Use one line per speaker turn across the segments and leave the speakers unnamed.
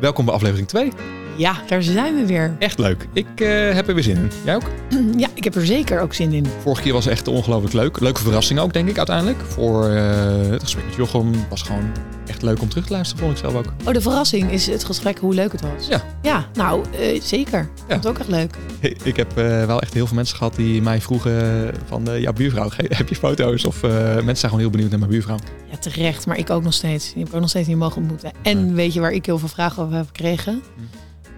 Welkom bij aflevering 2.
Ja, daar zijn we weer.
Echt leuk. Ik eh, heb er weer zin in. Jij ook?
Ja, ik heb er zeker ook zin in.
Vorige keer was echt ongelooflijk leuk. Leuke verrassing ook, denk ik, uiteindelijk. Voor eh, het gesprek met Jochem was gewoon echt leuk om terug te luisteren, vond ik zelf ook.
Oh, de verrassing is het gesprek hoe leuk het was.
Ja.
Ja, nou, eh, zeker. Ik vond het ook echt leuk.
Ik, ik heb eh, wel echt heel veel mensen gehad die mij vroegen van... eh, ja, buurvrouw, ge- heb je foto's? Of eh, mensen zijn gewoon heel benieuwd naar mijn buurvrouw.
Ja, terecht. Maar ik ook nog steeds. Die heb ik ook nog steeds niet mogen ontmoeten. En
Nee.
weet je waar ik heel veel vragen over heb gekregen?
Hm.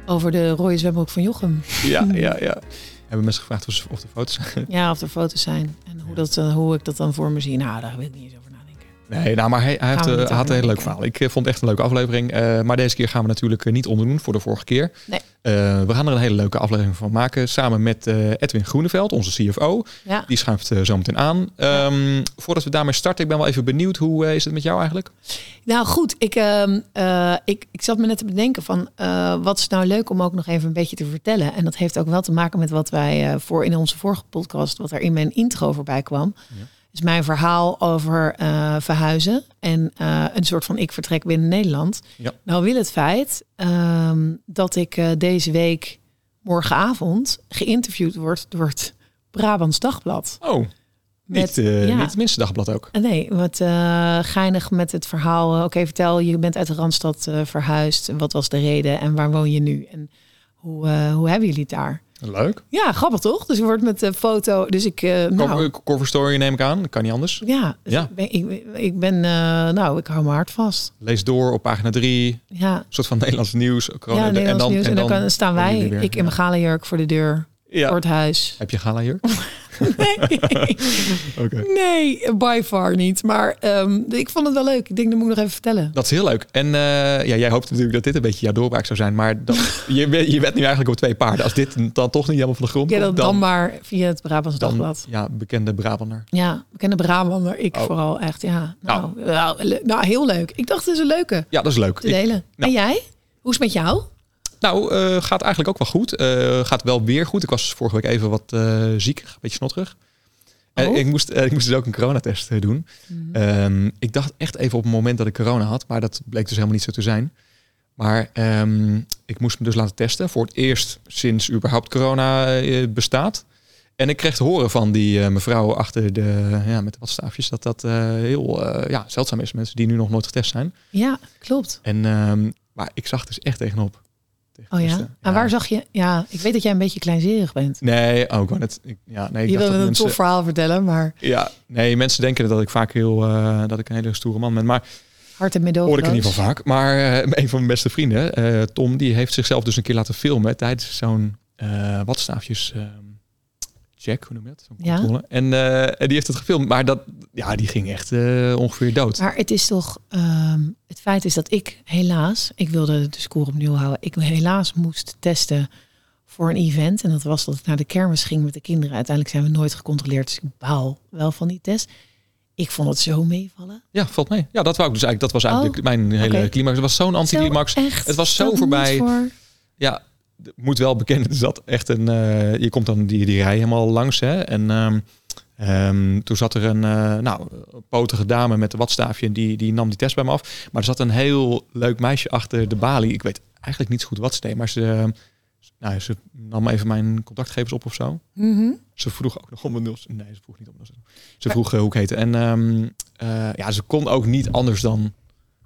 Over de rode zwembroek van Jochem.
Ja, ja, ja. Hebben mensen gevraagd of, ze- of de foto's...
Ja, of er foto's zijn. En hoe, dat, eh, hoe ik dat dan voor me zie. Nou, daar wil ik niet eens over nadenken.
Nee, nou, maar hij, hij, heeft,
we
eh,
niet
hij had een heel leuk
overdenken.
verhaal. Ik eh, vond het echt een leuke aflevering. eh, maar deze keer gaan we natuurlijk eh, niet onderdoen voor de vorige keer.
Nee.
Eh, we gaan er een hele leuke aflevering van maken. Samen met eh, Edwin Groeneveld, onze CFO.
Ja.
Die schuift eh, zo meteen aan. Ehm, voordat we daarmee starten, ik ben wel even benieuwd. Hoe eh, is het met jou eigenlijk?
Nou goed, ik, ehm, eh, ik, ik zat me net te bedenken van eh, wat is nou leuk om ook nog even een beetje te vertellen. En dat heeft ook wel te maken met wat wij eh, voor in onze vorige podcast, wat er in mijn intro voorbij kwam.
Ja.
Is mijn verhaal over eh, verhuizen en eh, een soort van ik vertrek binnen Nederland.
Ja.
Nou wil het feit ehm, dat ik eh, deze week morgenavond geïnterviewd word door het Brabants Dagblad.
Oh, niet,
Met-
eh,
ja.
niet het minste dagblad ook.
Ah, Nee, wat eh, geinig met het verhaal. eh, Oké, vertel, je bent uit de Randstad eh, verhuisd. Wat was de reden en waar woon je nu? En hoe, eh, hoe hebben jullie het daar?
Leuk.
Ja, grappig toch? Dus je wordt met de foto... Dus ik... eh, nou,
Cover, cover story neem ik aan. Dat kan niet anders.
ja, dus
Ja.
ik ben... Ik, ik ben eh, nou, ik hou mijn hart vast.
Lees door op pagina 3. Een
Ja,
soort van Nederlands nieuws.
ja
corona-
Nederlands nieuws. Oh, En dan, kan- staan wij,
jullie weer.
ik in mijn galenjurk voor de deur, voor
Ja.
het huis.
Heb je gala hier?
Nee.
Oké.
nee, by far niet. Maar ehm, ik vond het wel leuk. Ik denk, dat moet ik nog even vertellen.
Dat is heel leuk. En eh, ja, jij hoopt natuurlijk dat dit een beetje jouw doorbraak zou zijn. Maar dat, je, bent- je bent nu eigenlijk op twee paarden. Als dit dan toch niet helemaal van de grond
Ja,
komt,
dat dan, maar via het Brabants
dan-
Dagblad.
ja, bekende Brabander.
Ja, bekende Brabander. Ik
Oh.
vooral echt, ja.
Nou.
Nou, nou, le- nou, heel leuk. Ik dacht, het is een leuke
Ja, dat is leuk.
te
Ik-
delen.
nou.
En jij? Hoe is het met jou?
nou, eh, gaat eigenlijk ook wel goed. Eh, gaat wel weer goed. Ik was vorige week even wat eh ziek, een beetje snotterig. En
Oh.
ik, moest, eh, ik moest dus ook een coronatest eh, doen. Ehm, ik dacht echt even op het moment dat ik corona had, maar dat bleek dus helemaal niet zo te zijn. Maar ehm, ik moest me dus laten testen voor het eerst sinds überhaupt corona eh, bestaat. En ik kreeg te horen van die eh, mevrouw achter de, ja, met wat staafjes, dat dat eh, heel eh, ja, zeldzaam is. Mensen die nu nog nooit getest zijn.
Ja, klopt.
En, ehm, maar ik zag dus echt tegenop. Tegen
Oh ja?
testen.
En waar zag je... Ja, ik weet dat jij een beetje kleinzerig bent.
Nee, oh, ik wou net. Ik, ja, nee, ik
je
dacht
wil een
dat mensen,
tof verhaal vertellen, maar
Ja, nee, mensen denken dat ik vaak heel, eh, dat ik een hele stoere man ben. Maar
hard en midden
Hoor ik in ieder geval vaak. Maar eh, een van mijn beste vrienden, eh, Tom, die heeft zichzelf dus een keer laten filmen tijdens zo'n eh watstaafjes ehm, check, hoe noem je dat? Zo'n
Ja.
controle. En, eh, en die heeft het gefilmd, maar dat, ja, die ging echt eh, ongeveer dood.
Maar het is toch... ehm, het feit is dat ik helaas... Ik wilde de score opnieuw houden. Ik helaas moest testen voor een event. En dat was dat ik naar de kermis ging met de kinderen. Uiteindelijk zijn we nooit gecontroleerd. Dus ik baal wel van die test. Ik vond het zo meevallen.
Ja, valt mee. Ja, dat wou ik dus eigenlijk. Dat was eigenlijk
Oh,
mijn hele
oké.
climax. Het was zo'n anticlimax.
Zo echt.
Het was zo
Dat
voorbij.
moet voor-
Ja, d- moet wel bekend is dat echt een. eh, je komt dan die, die rij helemaal langs. Hè? En ehm, ehm, toen zat er een eh, nou, potige dame met een watstaafje. en Die, die nam die test bij me af. Maar er zat een heel leuk meisje achter de balie. Ik weet eigenlijk niet zo goed wat ze deed. Maar ze, ehm, s- nou, ze nam even mijn contactgegevens op of zo.
Mhm.
Ze vroeg ook nog om een nul. Nee, ze vroeg niet om een nul. Ze vroeg eh, hoe ik heette. En ehm, eh, ja, ze kon ook niet anders dan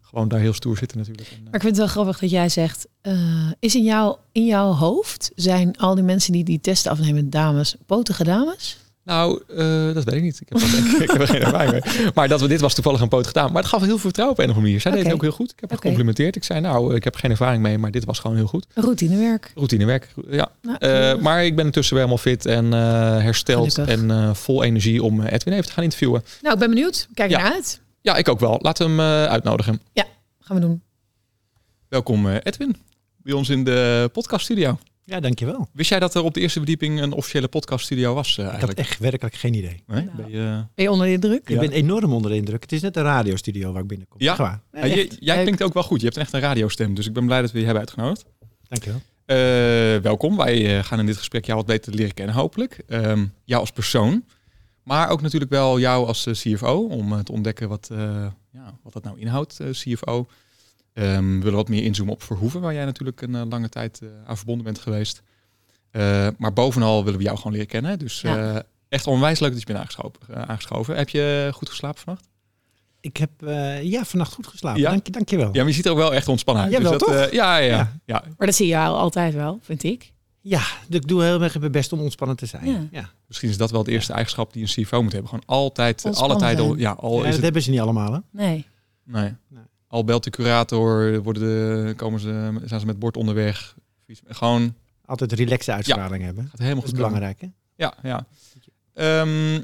gewoon daar heel stoer zitten natuurlijk. En, eh,
Maar ik vind het wel grappig dat jij zegt, eh, is in, jou, in jouw hoofd zijn al die mensen die die testen afnemen dames, potige dames?
Nou, eh, dat weet ik niet. Ik heb, dat- ik heb er geen ervaring mee. Maar dat we dit was toevallig een poot gedaan. Maar het gaf heel veel vertrouwen op een of andere manier. Zij deed
Oké.
het ook heel goed. Ik heb haar
Oké.
gecomplimenteerd. Ik zei, nou, ik heb geen ervaring mee, maar dit was gewoon heel goed.
Routinewerk.
Routinewerk, ja.
Nou,
Eh, maar ik ben intussen weer helemaal fit en eh, hersteld
Gelukkig.
en eh, vol energie om eh, Edwin even te gaan interviewen.
nou, ik ben benieuwd. Kijk
Ja.
naar uit.
Ja, ik ook wel. Laten we hem eh, uitnodigen.
Gaan we doen.
Welkom eh, Edwin, bij ons in de podcaststudio.
Ja, dankjewel.
Wist jij dat er op de eerste verdieping een officiële podcaststudio was eh,
Ik had
eigenlijk?
echt werkelijk geen idee.
Nee? eh,
Nou.
Ben je-
Ben je onder de indruk?
Ik
Ja.
ben enorm onder de indruk. Het is net een radiostudio waar ik binnenkom.
Ja?
Echt waar.
Eh,
Ah, je- jij
Leuk.
klinkt ook wel goed. Je hebt echt een radiostem, dus ik ben blij dat we je hebben uitgenodigd.
Dankjewel.
Eh, welkom. Wij eh, gaan in dit gesprek jou wat beter leren kennen, hopelijk. Ehm, jou als persoon, maar ook natuurlijk wel jou als eh, CFO, om eh, te ontdekken wat, eh, ja, wat dat nou inhoudt, eh, CFO. Ehm, we willen wat meer inzoomen op Verhoeven, waar jij natuurlijk een eh, lange tijd eh, aan verbonden bent geweest. Eh, maar bovenal willen we jou gewoon leren kennen. Dus
Ja.
eh, echt onwijs leuk dat je bent aangeschoven. eh, aangeschoven. Heb je goed geslapen vannacht?
Ik heb eh, ja, vannacht goed geslapen.
Ja?
Dank, je, dank je wel.
Ja, maar je ziet er ook wel echt ontspannen uit.
Jawel,
dat,
toch?
eh, ja, ja, ja,
Ja.
ja.
Maar dat zie je al- altijd wel, vind ik.
Dus Ik doe heel erg mijn best om ontspannen te zijn.
Ja.
Ja. Ja.
Misschien is dat wel de eerste eigenschap die een CFO moet hebben. Gewoon altijd, alle
Ontspannen
tijd al.
zijn.
Ja, al
dat
is het,
hebben ze niet allemaal. Hè?
Nee.
nee.
Nee.
Al belt de curator, worden de, komen ze, zijn ze met bord onderweg. Vies- Gewoon,
Altijd relaxe uitstraling hebben.
gaat helemaal
Dat is
goed. komen.
belangrijk, hè?
Ja, ja. Ehm,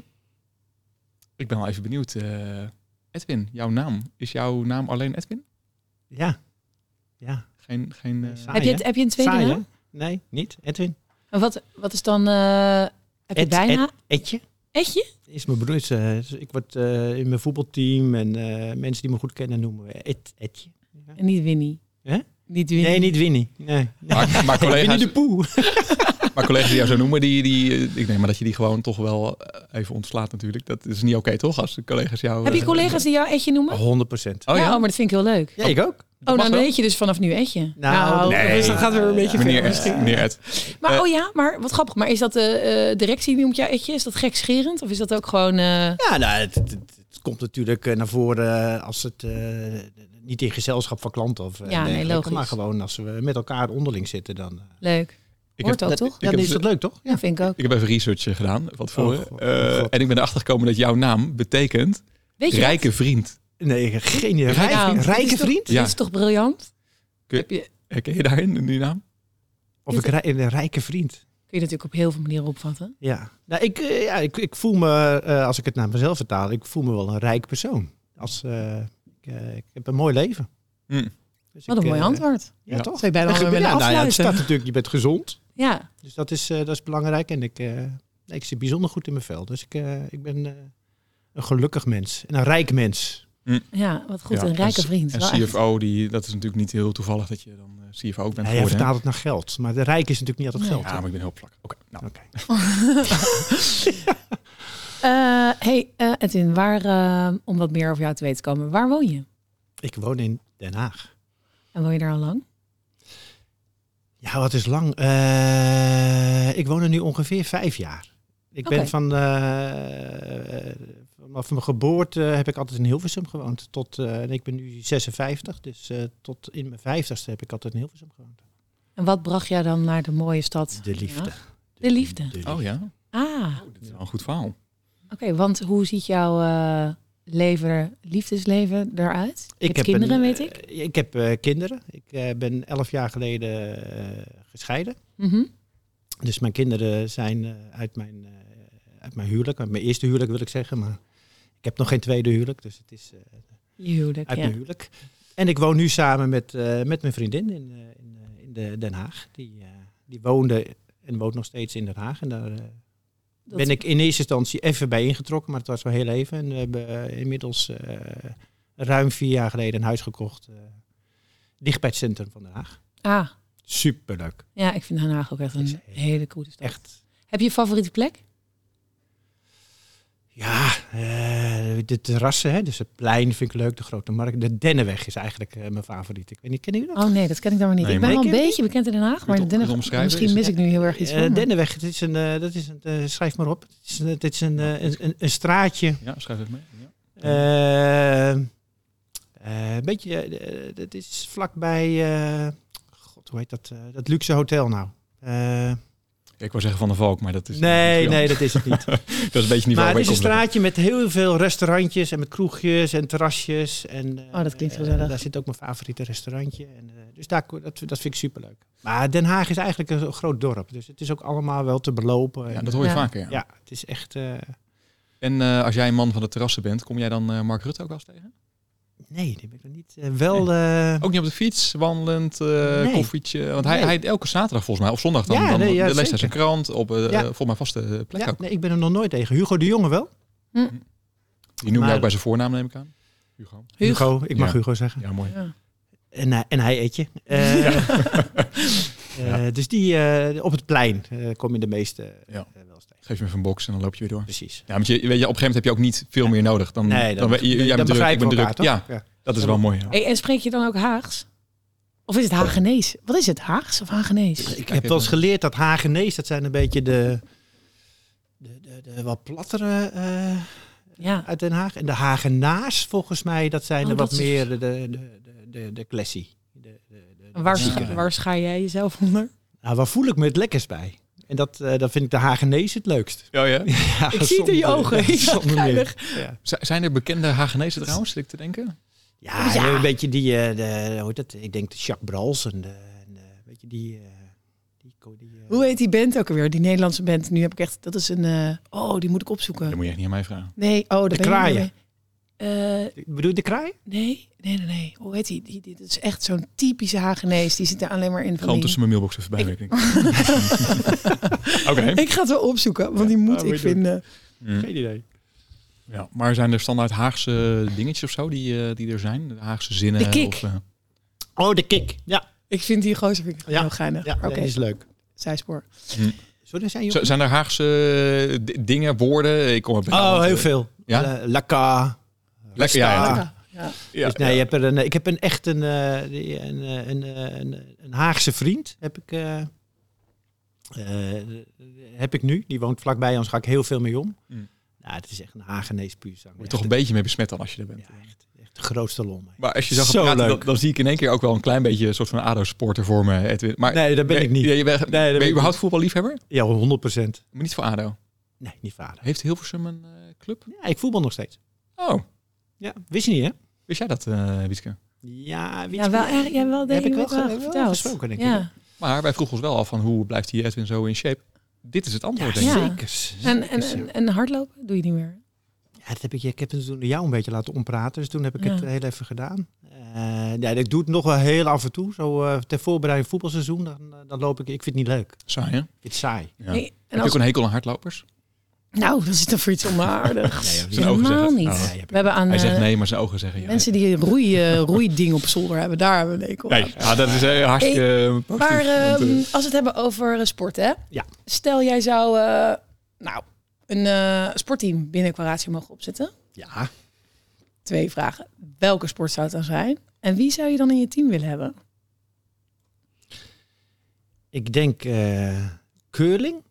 ik ben wel even benieuwd. eh, Edwin, jouw naam. Is jouw naam alleen Edwin?
Ja. Ja.
Geen, geen, eh,
Saai,
heb, je,
hè?
het- heb je een tweede
Saai, hè?
naam?
Nee, niet. Edwin.
En wat, wat is dan... eh, heb je
Ed-
bijna...
Edje.
Etje?
Is mijn broer. is, eh, dus ik word eh, in mijn voetbalteam en eh, mensen die me goed kennen noemen we Ed, Edje. Ja.
En niet Winnie.
Hè?
Niet Winnie.
Nee, niet Winnie. Nee.
Maar, maar,
Winnie
collega's,
de Poe.
maar collega's die jou zo noemen, die, die, eh, ik neem maar dat je die gewoon toch wel eh, even ontslaat natuurlijk. Dat is niet oké toch, als de collega's jou...
Heb je
eh,
collega's die jou Etje noemen?
100 procent.
Oh
ja?
ja?
oh, maar dat vind ik heel leuk.
Ja, ik ook. Nou,
Oh,
mag
nou dan
wel.
heet je dus vanaf nu Etje.
nee.
dus dat gaat weer een beetje
Meneer
verder.
Ed, meneer Ed.
Maar
Eh,
oh ja, maar wat grappig. Maar is dat de eh, directie die noemt jou Etje? Is dat gekscherend? Of is dat ook gewoon... eh,
Ja, nou, het, het, het- het komt natuurlijk eh, naar voren eh, als het eh, niet in gezelschap van klanten of eh,
Ja, nee,
dergelijke,
logisch.
Maar gewoon als we met elkaar onderling zitten, dan, eh,
leuk.
Ik
Hoort
heb,
ook, toch?
ik
ja,
heb
dan is
ze-
dat dus- leuk, toch?
Ja, vind ik ook.
ik heb even research eh, gedaan van tevoren.
Oh, God.
Eh, en ik ben erachter gekomen dat jouw naam betekent
Weet je
rijke vriend.
Nee, geen idee.
Rijk-
Rijke,
Nou, dit
rijke
is toch-
vriend?
Ja.
Dat is toch briljant?
Kun-
Heb je, kun
Herken je daarin, in die naam?
Of ik rij- een rijke vriend?
je natuurlijk op heel veel manieren opvatten.
Ja. Nou, ik, eh, ja, ik, ik voel me, eh, als ik het naar mezelf vertaal, ik voel me wel een rijk persoon. Als, eh, ik, eh, ik heb een mooi leven.
Hm.
Dus
Wat
ik,
een mooi
eh,
antwoord.
Ja,
Ja.
toch?
Zou je bijna
Dat
wel
gebeurt-
willen
ja, nou ja, het
afsluiten.
staat natuurlijk, je bent gezond.
Ja,
Dus dat is, eh, dat is belangrijk. En ik, eh, nee, ik zit bijzonder goed in mijn vel. Dus ik, eh, ik ben eh, een gelukkig mens. En een rijk mens.
ja wat goed.
Ja,
een
en
dus
rijke
s-
vriend.
En
Wel echt.
CFO, die, dat is natuurlijk niet heel toevallig dat je dan eh, CFO ook bent
Nou, jij
geworden. hè?
vertaalt het naar geld. Maar de rijk is natuurlijk niet altijd
Nee.
geld.
Ja,
hè?
maar ik ben heel plak. Oké, nou.
Oké.
Eh, hey eh, Edwin, waar, eh, om wat meer over jou te weten te komen. Waar woon je?
Ik woon in Den Haag.
En woon je daar al lang?
Ja, wat is lang. Eh, ik woon er nu ongeveer vijf jaar. Ik ben
Oké.
van, eh, eh, vanaf mijn geboorte heb ik altijd in Hilversum gewoond. Tot, eh, en ik ben nu 56, dus eh, tot in mijn vijftigste heb ik altijd in Hilversum gewoond.
En wat bracht jou dan naar de mooie stad?
De liefde.
Ja. De liefde.
Oh ja,
Ah,
Oh, dit is wel een goed verhaal.
oké. want hoe ziet jouw eh, leven, liefdesleven eruit? Je hebt
heb
kinderen,
een,
weet ik.
eh, ik heb eh, kinderen. Ik eh, ben elf jaar geleden eh, gescheiden.
Mhm.
Dus mijn kinderen zijn eh, uit, mijn, eh, uit mijn huwelijk, uit mijn eerste huwelijk wil ik zeggen. Maar ik heb nog geen tweede huwelijk, dus het is eh,
Je huwelijk,
uit
ja.
mijn huwelijk. En ik woon nu samen met, eh, met mijn vriendin in, eh, in, eh, in de Den Haag. Die, eh, die woonde en woont nog steeds in Den Haag. En daar eh,
Dat-
ben ik in eerste instantie even bij ingetrokken, maar het was wel heel even. En we hebben eh, inmiddels eh, ruim vier jaar geleden een huis gekocht. eh, dicht bij het centrum van Den Haag.
Ah,
Superleuk.
ja, ik vind Den Haag ook echt
Is
een
echt-
hele coole stad.
Echt.
Heb je een favoriete plek?
Ja, eh, de terrassen, hè? dus het plein vind ik leuk, de grote markt. De Dennenweg is eigenlijk eh, mijn favoriet. Ik weet niet, kennen jullie dat?
Oh nee, dat ken ik dan maar niet.
Nee,
ik ben
maar-
wel een
Ken je
beetje bekend in Den Haag,
Kun
maar
je
in
het
Den
om-
Haag-
omschrijven?
misschien
Is
mis
het-
ik nu heel erg iets
Eh,
van. maar-
Dennenweg, het is een, eh, dat is een, eh, schrijf maar op. Het is een, het is een, eh, een, een, een straatje
Ja, schrijf even mee. Ja.
Eh, eh, een beetje, eh, eh, dat is vlakbij, eh, god, hoe heet dat, eh, dat luxe hotel nou? Eh,
Ik wou zeggen Van de Valk, maar dat is...
nee,
dat is
nee, dat is het niet.
niet- Dat is een beetje niet
maar het
waar
is een straatje met heel veel restaurantjes en met kroegjes en terrasjes. En, eh,
Oh, dat klinkt
eh,
gezellig.
daar zit ook mijn favoriete restaurantje. En, eh, dus daar, ko- dat, dat vind ik superleuk. Maar Den Haag is eigenlijk een groot dorp, dus het is ook allemaal wel te belopen.
Ja,
En,
dat hoor je
Ja.
vaker, ja.
ja, het is echt... eh,
En eh, als jij een man van de terrassen bent, kom jij dan eh, Mark Rutte ook wel eens tegen?
nee, dat ben ik nog niet. Eh, wel... eh,
Ook niet op de fiets, wandelend, eh,
Nee.
koffietje? Want hij,
Nee.
hij elke zaterdag volgens mij, of zondag dan,
Ja,
dan
nee, ja,
leest hij
zeker.
zijn krant op eh
Ja.
volgens mij vaste plek
ja,
ook.
nee, ik ben er nog nooit tegen. Hugo de Jonge wel.
Die noemt jou
maar-
ook bij zijn voornaam, neem ik aan. Hugo.
Hugo.
Hugo, ik mag
Ja.
Hugo zeggen.
Ja, mooi.
Ja.
En, hij- en hij eet je. Eh, eh, dus die eh, op het plein eh, kom je de meeste eh,
Ja.
wel eens tegen.
Geef je even een box en dan loop je weer door.
Precies.
Ja, want je, weet je, op een gegeven moment heb je ook niet veel meer nodig. Dan,
Nee,
dan,
dan,
ben je- jij bent druk, ik ben druk.
elkaar, toch?
Ja, dat is wel mooi. ja.
Hey, en spreek je dan ook Haags? Of is het Hagenees? Wat is het? Haags of Hagenees?
Ik heb wel eens geleerd dat Hagenees, dat zijn een beetje de, de, de, de wat plattere eh,
Ja.
uit Den Haag. En de Hagenaars, volgens mij, dat zijn
Oh,
de wat
dat is-
meer de, de, de, de, de, de classie. De, de, de- de
Waar,
klassiekere.
scha- waar schaai jij jezelf onder?
Nou, waar voel ik me het lekkers bij? En dat, eh dat vind ik de Hagenees het leukst.
Oh ja?
Ja,
Ik zie het in je
zonder-
ogen.
ja,
Ja,
zonder meer.
geinig.
Ja.
Z- zijn er bekende Hagenezen trouwens, zit ik te denken?
Ja,
Oh, Ja.
een beetje die, eh, de, hoe heet dat? Ik denk de Jacques Brals en, de, en de- weet je, die... eh, die, ko- die eh,
Hoe heet die band ook alweer? Die Nederlandse band. Nu heb ik echt... Dat is een... eh, oh, die moet ik opzoeken.
Dat moet je echt niet aan mij vragen.
Nee, oh, de
kraaien.
Eh
Ik Bedoel je de kraai?
nee, nee, nee, nee. Hoe heet die? die, die- dat is echt zo'n typische Hagenees. Die zit er alleen maar in van
Gewoon
die-
tussen mijn mailbox even bij,
Ik-
denk ik. Oké.
Ik ga het wel opzoeken, want die moet
ah,
ik
moet je doen.
vinden.
Mm.
Geen idee.
Ja, maar zijn er standaard Haagse dingetjes of zo die, eh, die er zijn? De Haagse zinnen?
De kik.
Of, eh,
Oh, de kick. Ja,
Ik vind die gozer vind ik
Ja,
heel geinig.
ja
Oké,
dat is leuk.
zijspoor.
Zullen we zijn
z- zijn er Haagse eh, d- dingen, woorden? Ik kom er
Oh, heel veel.
Ja?
Eh, Lakka.
Lekker, ja, ja.
Ah.
Ja, ja.
Ja,
Dus nee, je hebt er een, ik heb een echt een, eh, die- een, eh, een, eh, een, een Haagse vriend. Heb ik, eh, eh, heb ik nu. Die woont vlakbij ons. Ga ik heel veel mee om.
Mm.
Nou, het is echt een Hagenees puur zang.
Moet je
Echt
toch een beetje mee besmet dan als je er bent.
Ja, echt, echt de grootste lol. mee.
Maar als je zag
Zo
het praten,
leuk.
dan, dan zie ik in één keer ook wel een klein beetje een soort van ADO-supporter voor me, Edwin. Maar,
Nee, dat ben ik niet.
Ja, je bent,
dat ben
ben je
ik
überhaupt voetballiefhebber?
Ja, 100 procent.
Maar niet voor ADO.
Nee, niet vader.
Heeft Hilversum een eh, club?
Ja, ik voetbal nog steeds.
Oh,
Ja, wist je niet, hè?
wist jij dat, eh Wieske?
Ja, weet
ja
je-
wel, erg, ja, wel denk
heb ik wel,
wel,
ge- heb ik wel
verteld.
gesproken, denk ik.
ja.
Maar wij vroegen ons wel af van hoe blijft die Edwin zo in shape? Dit is het antwoord,
Ja,
denk ik.
Ja.
zeker.
En,
zeker,
en,
zeker.
en, en hardlopen doe je niet meer.
Ja, dat heb ik, ik heb het toen jou een beetje laten ompraten, dus toen heb ik
Ja.
het heel even gedaan. Eh, ja, ik doe het nog wel heel af en toe. Zo eh, ter voorbereiding voetbalseizoen, dan, eh, dan loop ik. Ik vind het niet leuk. Ik
Saai, hè?
vind het saai.
Ja.
Nee, en
Heb je
als,
ook een hekel aan hardlopers?
nou, dat is dan voor iets onaardigs.
Nee,
zijn ogen
Helemaal
zeggen-
niet.
Oh.
Ja, je hebt-
We hebben aan
Hij
eh,
zegt nee, maar zijn ogen zeggen ja.
mensen die roei, eh, roeiding op zolder hebben, daar hebben we een hekel aan.
Nee, ja, dat is eh, hartstikke eh, positief.
Maar
Want,
ehm,
eh,
als we het hebben over eh, sport, hè?
Ja.
Stel jij zou eh, nou, een eh, sportteam binnen Quaratio mogen opzetten.
ja.
Twee vragen. Welke sport zou het dan zijn? En wie zou je dan in je team willen hebben?
ik denk eh curling.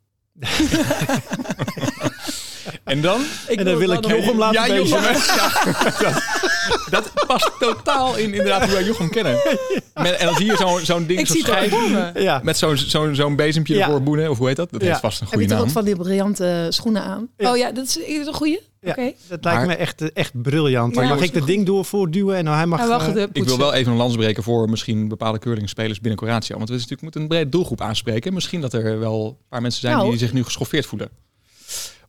En dan?
Ik
En dan wil ik Jochem laten
ja,
bezig.
Jochem. Ja, dat, dat past totaal in inderdaad hoe wij Jochem kennen. Met- en dan zie je zo'n zo'n ding
Ik
zo
zie het al
schijf-
voor me.
Ja.
Met zo'n zo'n zo'n bezempje
Ja.
ervoor boenen, of hoe heet dat? Dat
Ja.
heeft vast een
Heb je
goede
toch
naam.
ook van die briljante schoenen aan?
Ja.
Oh ja, dat is, is een goede.
Ja.
Oké.
Dat lijkt
Maar-
me echt, eh, echt briljant.
Ja,
mag
dat
ik
is
dat
goed.
ding door voortduwen en nou, hij mag...
Hij mag
eh,
het eh,
Ik wil
poetsen.
wel even een lans breken voor misschien bepaalde keuringsspelers binnen Coratio. Want we dus natuurlijk moeten een brede doelgroep aanspreken. Misschien dat er wel een paar mensen zijn
Nou.
die zich nu geschoffeerd voelen.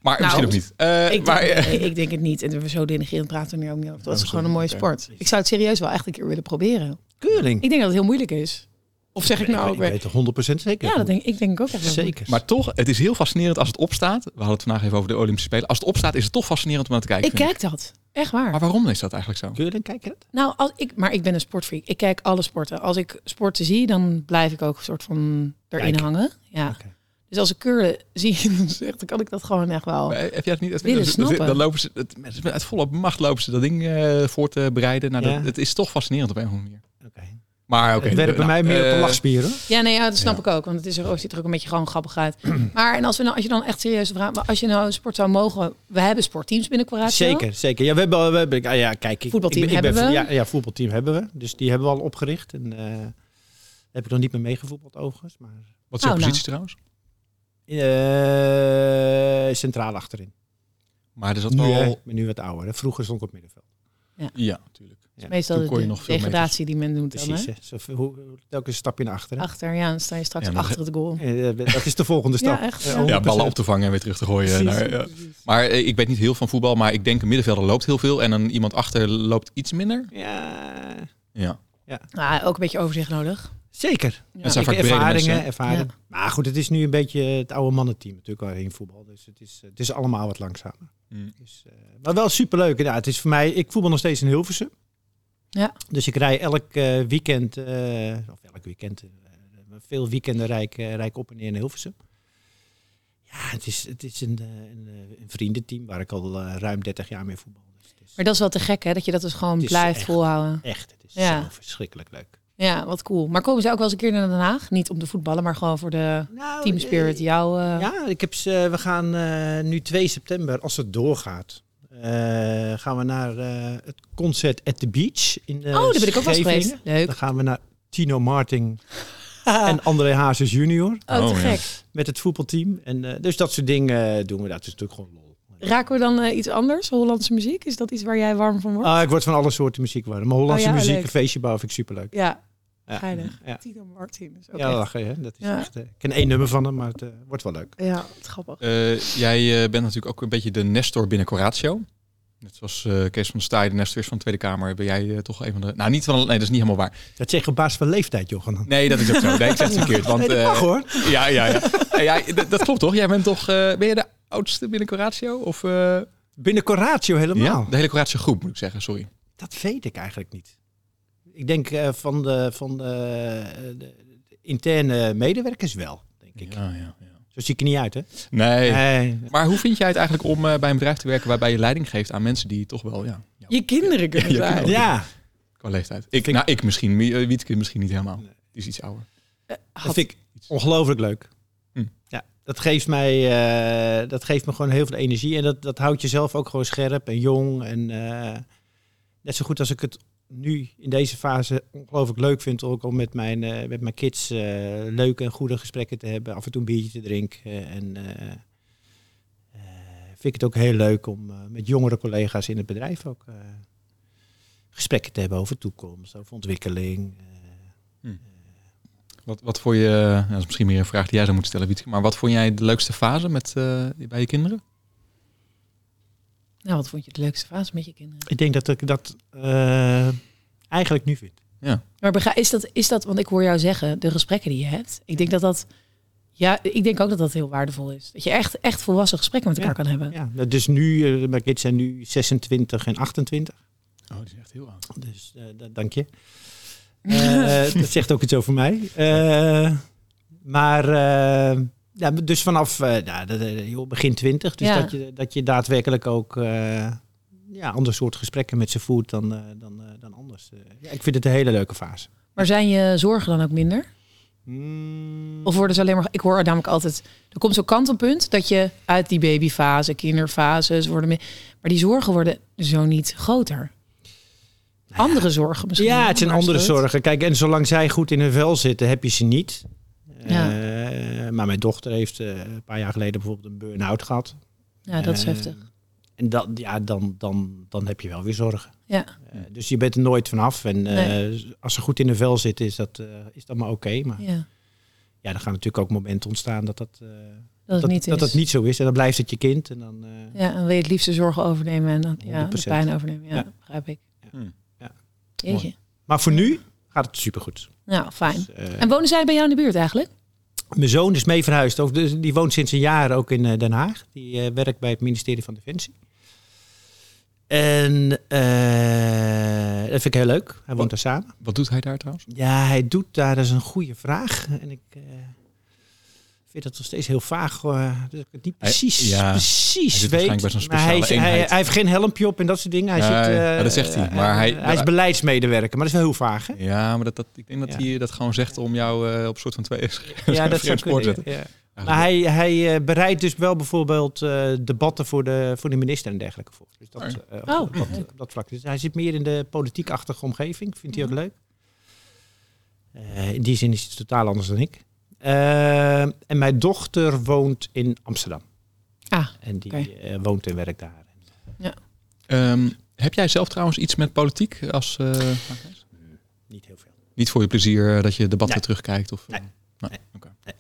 Maar
Nou,
misschien ook niet. Eh,
Ik,
maar,
denk,
eh,
nee, ik denk het niet. En we zo denigrerend praten we nu ook niet over. Dat is
Oh,
gewoon een mooie
sorry.
sport. Ik zou het serieus wel echt een keer willen proberen.
curling.
Ik denk dat het heel moeilijk is. Of zeg ik nou ook
ik weet
weer...
het 100 zeker.
Ja, dat denk, ik denk ik ook echt wel.
Zeker.
maar toch, het is heel fascinerend als het opstaat. We hadden het vandaag even over de Olympische Spelen. Als het opstaat is het toch fascinerend om naar te kijken.
Ik
vind
kijk dat. Echt waar.
Maar waarom is dat eigenlijk zo?
curling, kijk je dat?
Nou, als ik, maar ik ben een sportfreak. Ik kijk alle sporten. Als ik sporten zie, dan blijf ik ook een soort van erin
Kijken.
hangen. Ja.
Oké.
Dus als ik curlen zie, dan, zeg- dan kan ik dat gewoon echt wel.
Maar Eh, heb jij het niet? Dat-
Willen
dat- dat-
snappen.
Dan lopen ze het, met- met uit volle macht lopen ze dat ding eh, voor te bereiden. Nou, dat-
Ja.
het is toch fascinerend op een of andere manier.
Oké.
Maar oké.
Het werkt bij
nou,
mij meer op de
eh,
lachspieren.
Ja, nee, ja, dat snap
Ja.
ik ook. Want het is er, oh, ziet er ook een beetje gewoon grappig uit. Maar en als, we nou, als je dan echt serieus vraagt, maar als je nou een sport zou mogen, we hebben sportteams binnen Quaratio.
Zeker, zeker. Ja, we hebben, al- we hebben ah, ja, kijk, ik,
Voetbalteam
ik ben- ik ben
hebben
vo-
we.
Ja, ja, voetbalteam hebben we. Dus die hebben we al opgericht. En, eh, daar heb ik nog niet meer meegevoetbald overigens. Maar,
Wat is jouw
Oh, nou.
positie trouwens?
eh, centraal achterin.
Maar er zat
Nu, hè,
wel...
ik ben nu wat ouder. Hè. Vroeger stond ik op middenveld.
Ja, natuurlijk.
Dus meestal
Toen kon je
de
nog veel
degradatie die men doet dan,
Precies.
hè?
hè. Dus Zo, veel- hoe, hoe- telkens een stapje naar achteren.
Achter, ja, dan sta je straks
Ja, maar-
achter het goal.
Eh, dat is de volgende
Ja,
stap.
echt,
Eh,
ja.
Ja,
100%.
ballen op te vangen en weer terug te gooien.
Precies.
Naar, ja. Maar eh, ik weet niet heel van voetbal, maar ik denk een middenvelder loopt heel veel en dan iemand achter loopt iets minder.
Ja,
Ja.
Nou, ook een beetje overzicht nodig.
zeker.
Dat zijn
Ik-
vaak brede
ervaringen,
mensen. hè?
ervaring. Maar goed, het is nu een beetje het oude mannenteam natuurlijk al in voetbal. Dus het is, het is allemaal wat langzamer.
Mm.
Dus, eh, maar wel superleuk. Ja, het is voor mij, ik voetbal nog steeds in Hilversum.
Ja.
Dus ik rij elk eh, weekend, eh, of elk weekend, eh, maar veel weekenden rij ik, eh, rij ik op en neer in Hilversum. Ja, het is, het is een, eh, een, eh, een vriendenteam waar ik al eh, ruim 30 jaar mee voetbal. Dus het is
Maar dat is wel te gek, hè? Dat je dat dus gewoon
Het is
blijft
echt-
volhouden.
echt, het is
Ja.
zo verschrikkelijk leuk.
Ja, wat cool. Maar komen ze ook wel eens een keer naar Den Haag? Niet om te voetballen, maar gewoon voor de
Nou,
team spirit.
eh,
Jouw, eh,
Ja, ik heb ze, we gaan eh, nu 2 september, als het doorgaat, eh, gaan we naar eh, het concert at the beach. In, eh,
oh, daar ben ik ook wel eens
Scheveningen.
geweest. Leuk. Ah.
Dan gaan we naar Tino Martin
En,
en André Hazes junior
oh, te
Oh, ja.
gek.
met het voetbalteam. En, eh, dus dat soort dingen eh, doen we. Dat is natuurlijk gewoon lol.
Raken we dan eh, iets anders? Hollandse muziek? Is dat iets waar jij warm van wordt?
Ah, ik word van alle soorten muziek warm. Maar Hollandse
Oh ja,
muziek,
leuk.
een feestje bouwen vind ik superleuk.
ja,
Ja.
Geinig.
Ja,
Tino Martin. Is ook
ja
echt-
lachen, hè? Dat is
Ja.
echt, eh, ik ken één nummer van hem, maar het eh, wordt wel leuk.
ja, wat grappig.
Eh, jij eh, bent natuurlijk ook een beetje de Nestor binnen Coratio. Net zoals eh, Kees van der Staaij de Nestor is van de Tweede Kamer, ben jij eh, toch een van de... Nou, niet van... Nee, dat is niet helemaal waar.
Dat zeg ik op basis van leeftijd, Johan.
Nee, dat is ook zo. Nee, ik zeg het verkeerd. Want,
Nee, dat
eh,
mag hoor.
ja, ja, ja. Eh, ja d- dat klopt toch? Jij bent toch... eh, ben je de oudste binnen Coratio? Of, eh,
Binnen Coratio helemaal.
Ja, de hele Coratio groep moet ik zeggen, sorry.
Dat weet ik eigenlijk niet. Ik denk eh, van, de, van de, eh, de- de interne medewerkers wel, denk ik.
Ja, ja, ja.
Zo zie ik er niet uit, hè? Eh,
Nee.
Nee.
Maar hoe vind jij het eigenlijk om eh, bij een bedrijf te werken waarbij je leiding geeft aan mensen die toch wel, ja, ja,
Je kinderen kunnen
Ja, je
zijn.
kinderen.
Ja,
qua leeftijd. Ik,
Vind-
nou, ik misschien, Wie- eh, Wietke misschien niet helemaal.
Nee.
Die is iets ouder.
Eh,
dat vind ik ongelooflijk leuk.
Hm.
Ja, dat geeft, mij, eh, dat geeft me gewoon heel veel energie. En dat, dat houdt jezelf ook gewoon scherp en jong. En eh, net zo goed als ik het nu in deze fase ongelooflijk leuk vind... ook om met mijn, eh, met mijn kids eh, leuke en goede gesprekken te hebben. Af en toe een biertje te drinken. en eh, eh, vind ik het ook heel leuk om eh, met jongere collega's in het bedrijf ook... eh, gesprekken te hebben over toekomst, over ontwikkeling. eh.
Wat, wat vond je, nou, dat is misschien meer een vraag die jij zou moeten stellen, Wietke, maar wat vond jij de leukste fase met, eh, bij je kinderen?
Nou, wat vond je het leukste fase met je kinderen?
Ik denk dat ik dat eh, eigenlijk nu vind.
Maar bega- is dat, is dat, want ik hoor jou zeggen, de gesprekken die je hebt. Ik denk dat dat, ja, ik denk ook dat dat heel waardevol is. Dat je echt, echt volwassen gesprekken met elkaar kan hebben.
Ja, dat dus nu, eh, mijn kids zijn nu 26 en 28.
Oh, die is echt heel oud.
Dus eh, dat dank je. Eh, dat zegt ook iets over mij. Eh, maar, eh, ja, dus vanaf eh, nou, dat, eh, joh, begin 20. Dus
Ja.
dat, je, dat je daadwerkelijk ook eh ja, ander soort gesprekken met ze voert dan, eh, dan, eh, dan anders. Eh, ja, ik vind het een hele leuke fase.
Maar zijn je zorgen dan ook minder?
Mm.
Of worden ze alleen maar. Ik hoor namelijk altijd. Er komt zo'n kantelpunt dat je uit die babyfase, kinderfases worden. meer- Maar die zorgen worden zo niet groter. Andere zorgen misschien.
Nou Ja, het zijn
maar
andere
steeds.
zorgen. Kijk, en zolang zij goed in hun vel zitten, heb je ze niet.
Ja.
Eh, maar mijn dochter heeft eh, een paar jaar geleden bijvoorbeeld een burn-out gehad.
Ja, dat is
Eh,
heftig.
En dan, ja, dan, dan, dan heb je wel weer zorgen.
Ja.
Eh, dus je bent er nooit vanaf. En eh,
Nee.
als ze goed in hun vel zitten, is dat, eh, is dat maar oké. Maar ja.
Ja,
dan gaan natuurlijk ook momenten ontstaan dat dat, eh,
dat het
dat,
niet
dat,
is.
dat niet zo is. En dan blijft het je kind. En dan, eh,
Ja, en wil je het liefst de zorgen overnemen en dan ja, de
100%.
pijn overnemen. Ja,
Ja.
begrijp ik.
Hmm.
Ja.
Jeetje.
Maar voor nu gaat het supergoed.
Nou, fijn.
Dus, eh,
En wonen zij bij jou in de buurt eigenlijk?
Mijn zoon is mee verhuisd. Of dus die woont sinds een jaar ook in eh, Den Haag. Die eh, werkt bij het ministerie van Defensie. En eh, dat vind ik heel leuk. Hij woont daar samen.
Wat doet hij daar trouwens?
Ja, hij doet daar. Dat is een goede vraag. En ik eh, vind dat nog steeds heel vaag. eh, dat ik het niet
Hij-
precies,
ja,
precies
hij zit
weet.
waarschijnlijk bij zo'n
Maar hij, is-
speciale
hij,
eenheid.
hij heeft geen helmpje op en dat soort dingen. Hij
Nee,
zit, eh,
ja, dat zegt hij.
eh,
Maar hij-
hij is beleidsmedewerker. Maar dat is wel heel vaag, hè?
Ja, maar dat, dat, ik denk dat
Ja.
hij dat gewoon zegt om jou eh, op een soort van twee
Ja, dat zou
vreemd spoor te
kunnen.
zetten.
ja. Maar hij, hij eh, bereidt dus wel bijvoorbeeld eh, debatten voor de, voor de minister en dergelijke voor. Dus dat,
Oh.
eh, op,
Oh,
op dat,
leuk.
op dat vlak. Dus hij zit meer in de politiekachtige omgeving. Vindt
Mhm.
hij ook leuk. Eh, in die zin is het totaal anders dan ik. Eh, en mijn dochter woont in Amsterdam.
Ah,
En die
oké.
eh, woont en werkt daar.
Ehm, heb jij zelf trouwens iets met politiek als... eh,
Niet heel veel.
Niet voor je plezier eh, dat je debat
Nee.
weer terugkijkt? Of,
Nee.
eh, nee.
Nee.
oké.
Nee.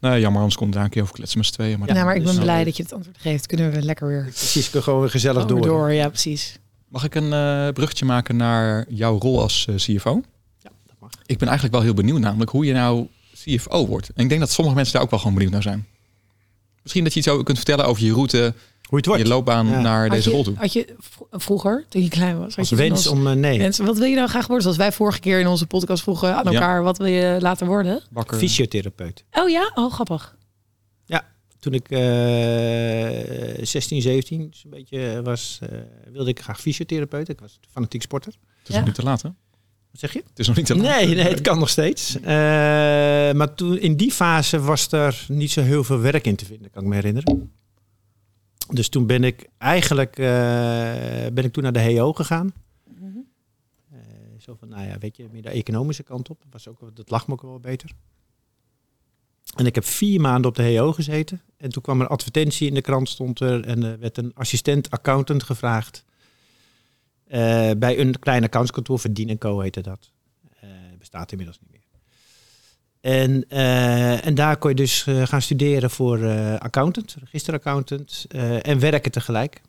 Nou, jammer, anders komt daar een keer over kletsen met z'n tweeën. Maar
Ja,
nou, maar ik
dus
ben
dan-
blij dat je het antwoord geeft. Kunnen we lekker weer
Precies, ik wil gewoon weer gezellig
gewoon
door.
weer Ja, precies.
Mag ik een eh bruggetje maken naar jouw rol als eh, CFO?
Ja, dat mag.
Ik ben eigenlijk wel heel benieuwd namelijk hoe je nou CFO wordt. En ik denk dat sommige mensen daar ook wel gewoon benieuwd naar zijn. Misschien dat je iets over kunt vertellen over je route,
Hoe het wordt.
je loopbaan
Ja.
naar
Had
deze
je,
rol toe.
Had je vro- vroeger, toen je klein was, had
Als
je toen
wens om... eh, nee,
Mensen, wat wil je nou graag worden? Zoals wij vorige keer in onze podcast vroegen aan
Ja.
elkaar, wat wil je later worden?
Bakker.
fysiotherapeut.
Oh ja, oh grappig.
toen ik eh 16, 17 zo'n eh, beetje was, eh, wilde ik graag fysiotherapeut. Ik was fanatiek sporter.
Het is
Ja.
nog niet te laat, hè?
Wat zeg je?
Het is nog niet te laat.
Nee, nee, het kan nog steeds. Eh, maar toen, in die fase was er niet zo heel veel werk in te vinden, kan ik me herinneren. Dus toen ben ik eigenlijk eh, ben ik toen naar de HEO gegaan.
Mhm.
Eh, zo van, nou ja, weet je, meer de economische kant op. Was ook, dat lag me ook wel beter. En ik heb vier maanden op de HEO gezeten. En toen kwam er een advertentie in de krant, stond er. En er werd een assistent-accountant gevraagd. Eh, bij een klein accountskantoor, Verdien Co heette dat. Eh, bestaat inmiddels niet meer. En, eh, en daar kon je dus eh, gaan studeren voor eh, accountant, registeraccountant. eh, en werken tegelijk.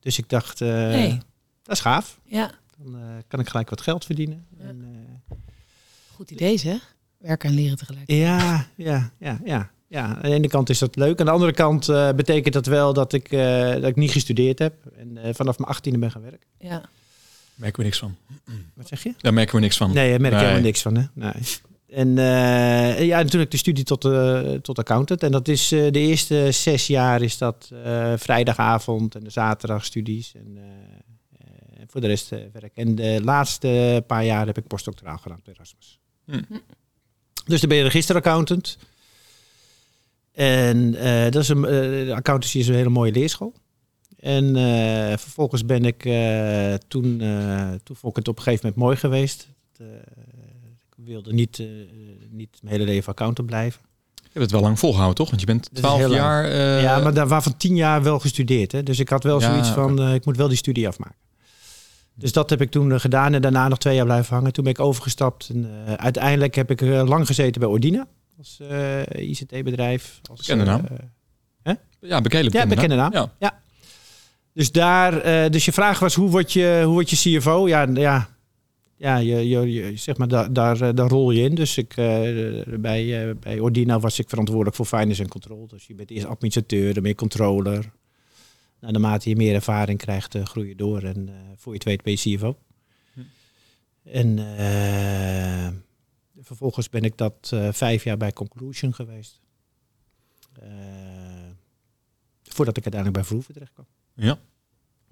Dus ik dacht, eh,
Nee.
dat is gaaf.
Ja,
Dan eh, kan ik gelijk wat geld verdienen.
Ja.
En, eh,
goed idee zeg. Werken en leren tegelijk.
ja, ja, ja, ja, ja. Aan de ene kant is dat leuk. Aan de andere kant eh, betekent dat wel dat ik, eh, dat ik niet gestudeerd heb. En eh, vanaf mijn achttiende ben gaan werken.
Ja.
Merken we niks van.
Wat zeg je?
Daar merken we niks van.
Nee, daar merk je
Nee.
helemaal niks van. Hè? Nee. En eh, ja, natuurlijk de studie tot, eh, tot accountant. En dat is eh, de eerste zes jaar is dat eh, vrijdagavond en de zaterdagstudies. En eh, eh, voor de rest eh, werk. En de laatste paar jaar heb ik postdoctoraal gedaan op Erasmus.
Hm.
Dus dan ben je registeraccountant. En eh, dat is een, eh, accountancy is een hele mooie leerschool. En eh, vervolgens ben ik eh, toen, eh, toen vond ik het op een gegeven moment mooi geweest. Het, eh, ik wilde niet, eh, niet mijn hele leven accountant blijven.
Je hebt het wel lang volgehouden, toch? Want je bent
is
12
heel lang.
jaar. eh,
ja, maar daar waarvan tien jaar wel gestudeerd. Hè? Dus ik had wel
Ja,
zoiets van, eh, ik moet wel die studie afmaken. Dus dat heb ik toen eh, gedaan en daarna nog twee jaar blijven hangen. Toen ben ik overgestapt en eh, uiteindelijk heb ik eh, lang gezeten bij Ordina. Als eh, ICT-bedrijf. Als,
Bekende naam.
eh,
ja, bekende,
ja, bekende naam.
Ja.
Dus daar, eh, dus je vraag was hoe word je, hoe word je CFO? Ja, n- ja, ja je, je, je- zeg maar, daar, daar, eh, daar rol je in. Dus ik, eh, bij, eh, bij Ordina was ik verantwoordelijk voor finance en control. Dus je bent eerst administrateur, dan ben je controller. Nou, naarmate je meer ervaring krijgt, eh, groei je door. En eh, voor je het weet ben je CFO.
Hm.
En eh, vervolgens ben ik dat eh, vijf jaar bij Conclusion geweest. Eh, voordat ik uiteindelijk bij Vroeven terecht kwam.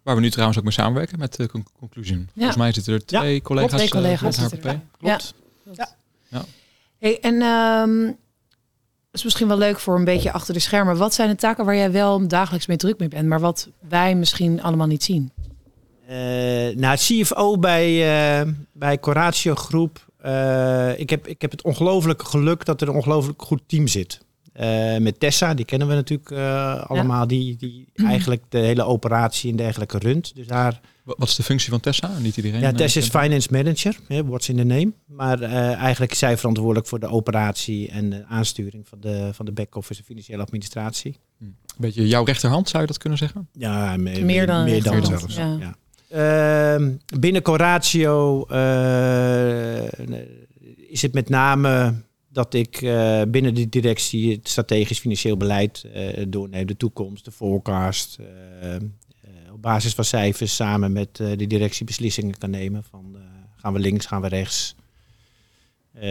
Waar we nu trouwens ook mee samenwerken met de Conclusion. Volgens mij zitten er
Ja,
twee collega's.
Twee
eh,
collega's.
met
zitten
HPP.
erbij. Ja. Hey, en ehm, dat is misschien wel leuk voor een beetje achter de schermen. Wat zijn de taken waar jij wel dagelijks mee druk mee bent, maar wat wij misschien allemaal niet zien?
Eh, nou, CFO bij, eh bij Coratio Groep. eh, ik, heb, ik heb het ongelooflijke geluk dat er een ongelooflijk goed team zit. Eh, met Tessa, die kennen we natuurlijk eh, allemaal. Die, die eigenlijk de hele operatie en dergelijke runt. Dus daar
Wa- Wat is de functie van Tessa? Niet iedereen.
ja,
eh,
Tess is
kent haar.
finance manager, hè, what's in the name. Maar eh, eigenlijk is zij verantwoordelijk voor de operatie en de aansturing van de, van de back-office en financiële administratie.
Beetje jouw rechterhand, zou je dat kunnen zeggen?
Ja, me-
Meer dan
meer dan
rechterhand,
zelfs.
ja.
Ja. Ehm, binnen Coratio eh, is het met name dat ik eh, binnen de directie het strategisch financieel beleid eh, doorneem. De toekomst, de forecast. eh, eh, op basis van cijfers samen met eh, de directie beslissingen kan nemen. Van, eh, gaan we links, gaan we rechts. Eh,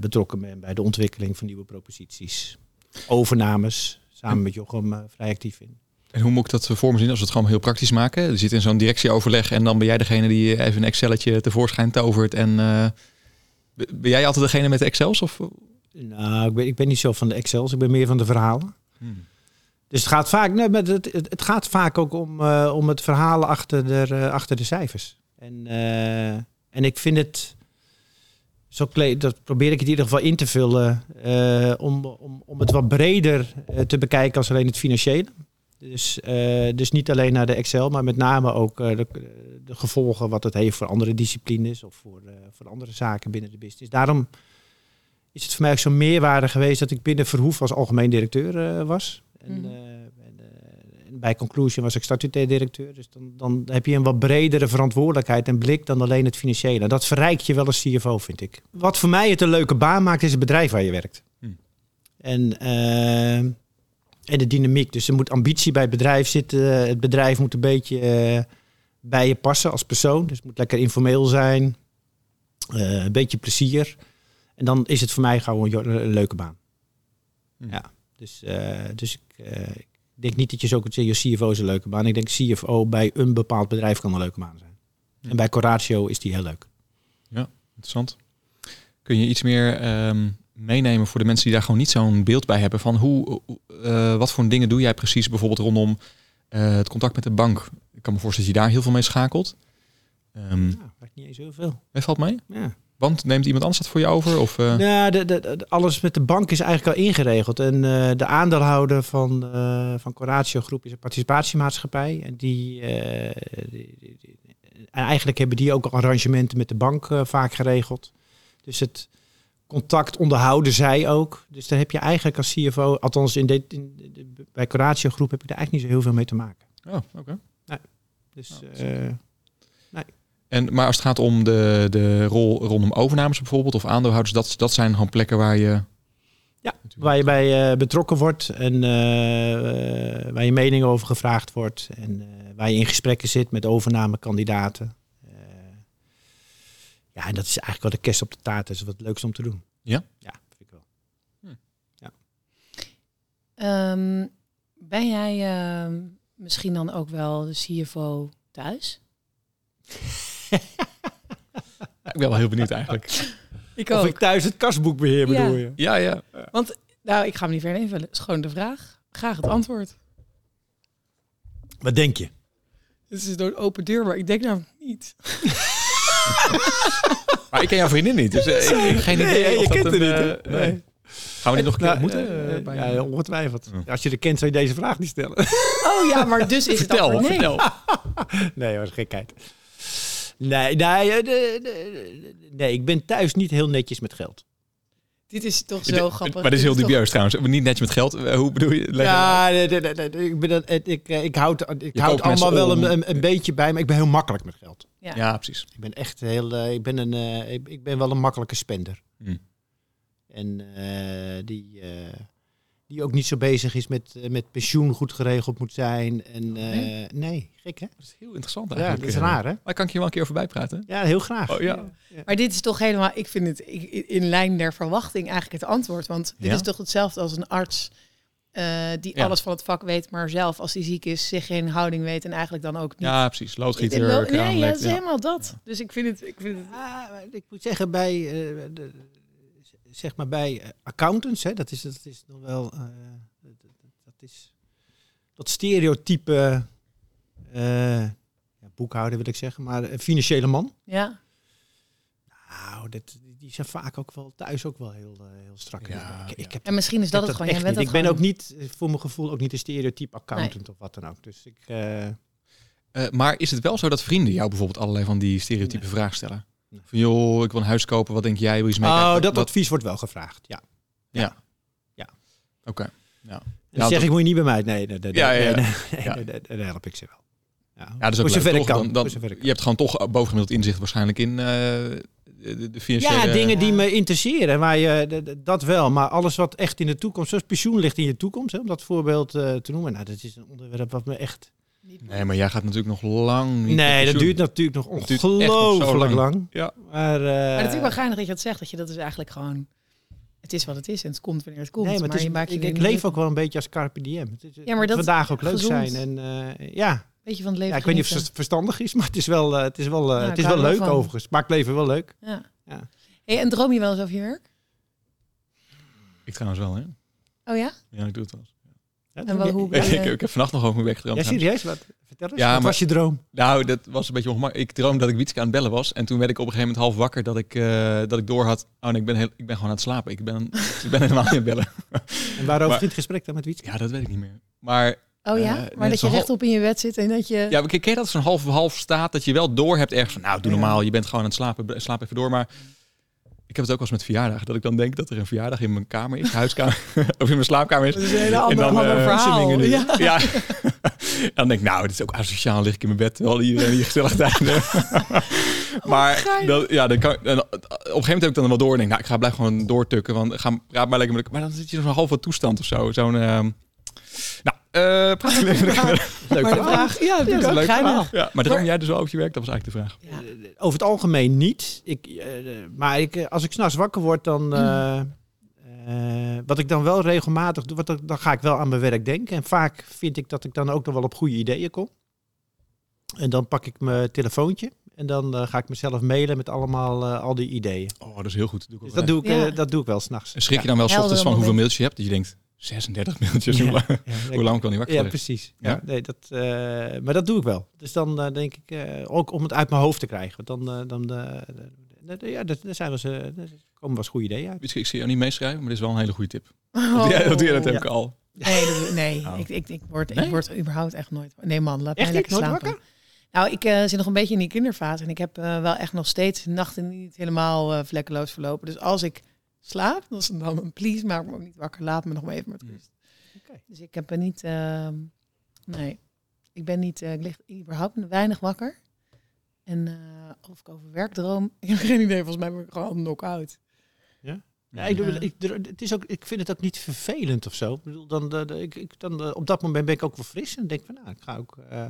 betrokken ben bij de ontwikkeling van nieuwe proposities. Overnames, samen met Jochem eh, vrij actief in.
En hoe moet ik dat voor me zien als we het gewoon heel praktisch maken? Je zit in zo'n directieoverleg en dan ben jij degene die even een Excelletje tevoorschijn tovert. En eh, b- ben jij altijd degene met de Excels? Of?
Nou, ik ben, ik ben niet zo van de Excels, ik ben meer van de verhalen.
Hmm.
Dus het gaat vaak, nee, maar het, het, het gaat vaak ook om, eh, om het verhalen achter de, eh, achter de cijfers. En, eh, en ik vind het, zo kle- dat probeer ik het in ieder geval in te vullen, eh, om, om, om het wat breder eh, te bekijken als alleen het financiële. Dus, eh, dus niet alleen naar de Excel, maar met name ook eh, de, de gevolgen wat het heeft voor andere disciplines of voor, eh, voor andere zaken binnen de business. Daarom is het voor mij ook zo'n meerwaarde geweest dat ik binnen Verhoef als algemeen directeur eh, was. En,
Mhm.
eh, en, eh, en bij Conclusion was ik statutair directeur. Dus dan, dan heb je een wat bredere verantwoordelijkheid en blik dan alleen het financiële. Dat verrijkt je wel als CFO, vind ik. Wat voor mij het een leuke baan maakt, is het bedrijf waar je werkt.
Hm.
En, eh, en de dynamiek. Dus er moet ambitie bij het bedrijf zitten. Het bedrijf moet een beetje eh, bij je passen als persoon. Dus het moet lekker informeel zijn. Eh, een beetje plezier. En dan is het voor mij gewoon een jo- een leuke baan.
Hm.
Ja, dus, eh, dus ik, eh, ik denk niet dat je zo kunt zeggen, "Joh, CFO is een leuke baan. Ik denk CFO bij een bepaald bedrijf kan een leuke baan zijn.
Hm.
En bij Coratio is die heel leuk.
Ja. interessant. Kun je iets meer ehm, meenemen voor de mensen die daar gewoon niet zo'n beeld bij hebben van hoe, eh, wat voor dingen doe jij precies bijvoorbeeld rondom eh, het contact met de bank? Ik kan me voorstellen dat je daar heel veel mee schakelt. Ehm
Nou, maakt niet eens heel veel.
nee, valt mee?
Ja.
Want neemt iemand anders dat voor je over? Of, eh,
Nou, de, de, de- alles met de bank is eigenlijk al ingeregeld. En eh, de aandeelhouder van, eh van Coratio Groep is een participatiemaatschappij. En die, eh, die- die- die- en eigenlijk hebben die ook arrangementen met de bank eh, vaak geregeld. Dus het contact onderhouden zij ook. Dus daar heb je eigenlijk als CFO, althans in dit- in, de- bij Coratio Groep heb je daar eigenlijk niet zo heel veel mee te maken.
Oh, oké.
Dus
Oh,
eh,
En, maar als het gaat om de, de rol rondom overnames bijvoorbeeld of aandeelhouders, dat, dat zijn gewoon plekken waar je...
Ja,
Natuurlijk.
Waar je bij eh, betrokken wordt en eh, eh, waar je mening over gevraagd wordt. En eh, waar je in gesprekken zit met overnamekandidaten. Eh, ja, en dat is eigenlijk wel de kerst op de taart. Dat is wat leuks om te doen.
Ja?
Ja, vind ik wel.
Ehm, ben jij ehm, misschien dan ook wel de CFO thuis?
Ja, Ik ben wel heel benieuwd eigenlijk.
Ik
Of ik thuis het kasboek beheer
Ja.
bedoel je?
ja, ja.
Nou, ik ga hem niet verder invullen. Het is gewoon de vraag. Graag het antwoord.
Wat denk je?
Het is door een open deur, maar ik denk nou niet.
Maar ik ken jouw vriendin niet, dus eh, ik, ik- geen
Nee,
idee.
hè, je
of dat
kent
een,
haar niet,
eh,
hè?
nee.
Nee.
Gaan we dit nog een keer
Nou,
ontmoeten?
eh,
eh, bij-
ja, ongetwijfeld.
Ja.
Als je er kent zou je deze vraag niet stellen.
Oh ja, maar dus is het
vertel,
antwoord nee.
vertel.
nee hoor, gekheid. Nee, nee, eh, de- de- de- nee, ik ben thuis niet heel netjes met geld.
Dit is toch zo
Dit-
grappig.
Maar dit is heel
toch-
dubieus trouwens. Niet netjes met geld. Eh, Hoe bedoel je? Leg-
Ja, nee, nee, nee, nee, ik, ben, dat- het- ik, eh, ik houd, ik
Je
houd
koopt mensen
allemaal wel een,
om.
een, een beetje bij, maar ik ben heel makkelijk met geld.
Ja.
ja, precies.
Ik ben echt heel, eh, ik, ben een, eh, ik, ik ben wel een makkelijke spender.
Hm.
En eh, die, eh, die ook niet zo bezig is met, eh, met pensioen goed geregeld moet zijn. En, eh,
Nee?
nee? gek hè?
Dat is heel interessant
Ja,
eigenlijk.
dat is
eh.
raar hè?
Maar ik kan ik hier wel een keer over bijpraten?
Ja, heel graag.
Oh ja.
Maar dit is toch helemaal, ik vind het i- i- in lijn der verwachting eigenlijk het antwoord. Want dit
Ja.
is toch hetzelfde als een arts eh, die
Ja.
alles van het vak weet, maar zelf als hij ziek is, zich geen houding weet en eigenlijk dan ook niet.
Ja, precies.
Ik- ik-
Loodgieter,
nee, ja,
kraamlek.
dat is
ja.
helemaal dat. Dus ik vind het, ik vind het
Ah, maar ik moet zeggen, bij, eh, de, zeg maar bij eh, accountants, hè, dat, is, dat is nog wel. eh, dat, dat- dat is. Dat stereotype. eh, ja, boekhouder wil ik zeggen, maar een financiële man.
ja.
Nou, dat, die zijn vaak ook wel thuis ook wel heel, eh, heel strak. in.
Ja,
ik,
ja.
ik heb
En misschien is dat, het gewoon. Jij
echt
bent
niet.
dat
Ik ben
gewoon-
ook niet, eh, voor mijn gevoel, ook niet een stereotype accountant of wat dan ook. Dus ik. eh,
Eh, maar is het wel zo dat vrienden jou bijvoorbeeld allerlei van die stereotype vragen stellen?
Nee.
Van joh, ik wil een huis kopen. Wat denk jij? Wil je eens meekijken?
oh, dat, advies wordt wel gevraagd. Ja.
Oké.
En
Ja,
dan zeg
dat-
ik, moet je niet bij mij. Nee, nee, nee,
Ja, ja, ja.
nee, nee,
Ja.
nee, nee, nee, daar help ik ze wel. Ja,
Ja, dat is ook
Voor
leuk,
zover ik
toch?
kan.
Dan- dan-
voor zover ik
Je hebt gewoon toch bovengemiddeld inzicht waarschijnlijk in eh, de, de
kan.
financiële...
ja, dingen die me interesseren. Waar je, d- d- dat wel, maar alles wat echt in de toekomst, zoals pensioen ligt in je toekomst, hè, om dat voorbeeld eh, te noemen. Nou, dat is een onderwerp wat me echt...
Nee, maar jij gaat natuurlijk nog lang niet met
Nee, dat
pensioen.
duurt natuurlijk nog
Dat duurt echt nog zo
ongelooflijk
lang.
lang.
Ja.
Maar, eh,
Maar het is wel geinig dat je dat zegt, dat je dat is eigenlijk gewoon... Het is wat het is en het komt wanneer het komt.
nee, maar,
maar
het is,
je maakt je
ik,
er
ik
niet
leef
druk
ook wel een beetje als carpe diem. Het is- het
maar
moet
dat is
vandaag ook leuk
gezond.
zijn. En, eh, ja,
een beetje van het leven
Ja, ik weet niet of
genieten.
het verstandig is, maar het is wel, eh, het is wel, eh,
Ja,
het
ik
is
hou
wel
er wel
leuk
van.
overigens. Het maakt leven wel leuk.
Ja.
Ja.
Hey, en droom je wel eens over je werk?
Ik trouwens wel, hè?
Oh ja?
Ja, ik doe het wel. eens.
En wel, hoe
Ik,
ben je-
ik, ik heb vannacht nog over mijn weg gedroomd.
Ja, serieus? Wat? Vertel eens,
Ja,
wat
maar-
was je droom?
Nou, dat was een beetje ongemakkelijk. Ik droomde dat ik Wietske aan het bellen was. En toen werd ik op een gegeven moment half wakker dat ik, eh, dat ik door had... Oh nee, ik ben, heel, ik ben gewoon aan het slapen. Ik ben, ik ben helemaal niet aan het bellen.
En waarover
Maar-
ging het gesprek dan met Wietske?
Ja, dat weet ik niet meer. Maar
Oh
Eh,
ja?
nee,
maar
het
dat
is
je
een hal-
rechtop in je bed zit en dat je...
ja, maar ken ken je dat zo'n half-half staat? Dat je wel door hebt ergens van... Nou, doe
Ja.
normaal. Je bent gewoon aan het slapen. bl- Slaap even door. Maar ik heb het ook wel eens met verjaardag. Dat ik dan denk dat er een verjaardag in mijn kamer is. Huiskamer. of in mijn slaapkamer is.
Dat is een hele andere,
dan,
ander
eh,
verhaal.
Zemmingen nu.
Ja.
Ja. En dan denk ik, nou, dit is ook asociaal, lig ik in mijn bed, terwijl iedereen hier gezellig tijd heeft. Maar
geinig.
dat, ja, dan kan, en op een gegeven moment heb ik dan wel door en denk, nou, ik ga blijf gewoon doortukken, want ga, praat maar lekker met elkaar. Maar dan zit je in zo'n halve toestand of zo, zo'n... ehm, nou, eh praat maar lekker met elkaar.
Leuk
Maar de
verhaal.
vraag... Ja,
Ja,
dat vind
dat
ik
is
ook
leuk.
geinig.
Ja, maar droom jij dus wel over je werk? Dat was eigenlijk de vraag.
Ja.
Eh, Over het algemeen niet. Ik, eh, eh, maar ik, eh, als ik s'nachts wakker word,
Mm.
dan... eh, eh, wat ik dan wel regelmatig doe, wat, ik- dan ga ik wel aan mijn werk denken. En vaak vind ik dat ik dan ook nog wel op goede ideeën kom. En dan pak ik mijn telefoontje. En dan eh, ga ik mezelf mailen met allemaal eh, al die ideeën.
Oh, dat is heel goed. Doe ik
Dus
wel
dat
eens.
doe ik,
Ja.
eh, dat doe ik wel s'nachts.
Schrik je dan wel 's
Helder
ochtends van hoeveel mailtjes
moment.
je hebt? Dat je denkt, 36 mailtjes, hoe lang- hoe lang kan die wakker
Ja,
liggen?
precies.
Ja?
Ja? Nee, dat, eh, maar dat doe ik wel. Dus dan eh, denk ik, eh, ook om het uit mijn hoofd te krijgen. Want dan, eh, dan eh, eh, eh, ja, dat- daar zijn wel eens, eh, daar komen wel eens goede ideeën uit.
Wietske, Ik zie jou niet meeschrijven, maar dit is wel een hele goede tip.
Oh.
Ja, dat, ja, dat heb
Ja.
ik al.
Nee, dat- nee.
Oh.
Ik, ik, ik, word,
Nee?
ik word überhaupt echt nooit. Nee, man, laat
Echt
mij
niet?
lekker
Nooit
slapen.
wakker?
Nou, ik eh, zit nog een beetje in die kinderfase en ik heb eh, wel echt nog steeds nachten niet helemaal eh, vlekkeloos verlopen. Dus als ik slaap, dan is het dan een please, maak me ook niet wakker. Laat me nog maar even met
Mm.
rust.
Oké.
Dus ik heb er niet. ehm, nee, ik ben niet. eh, ik lig überhaupt weinig wakker. En eh, of ik over werk droom, ik heb geen idee. Volgens mij ben ik gewoon knock-out.
Ja, ik, doe,
Ja.
ik, het is ook, ik vind het ook niet vervelend of zo. Ik bedoel, dan, eh, dan- ik, ik, dan, eh, op dat moment ben ik ook wel fris en denk van, nou, ik ga ook... eh,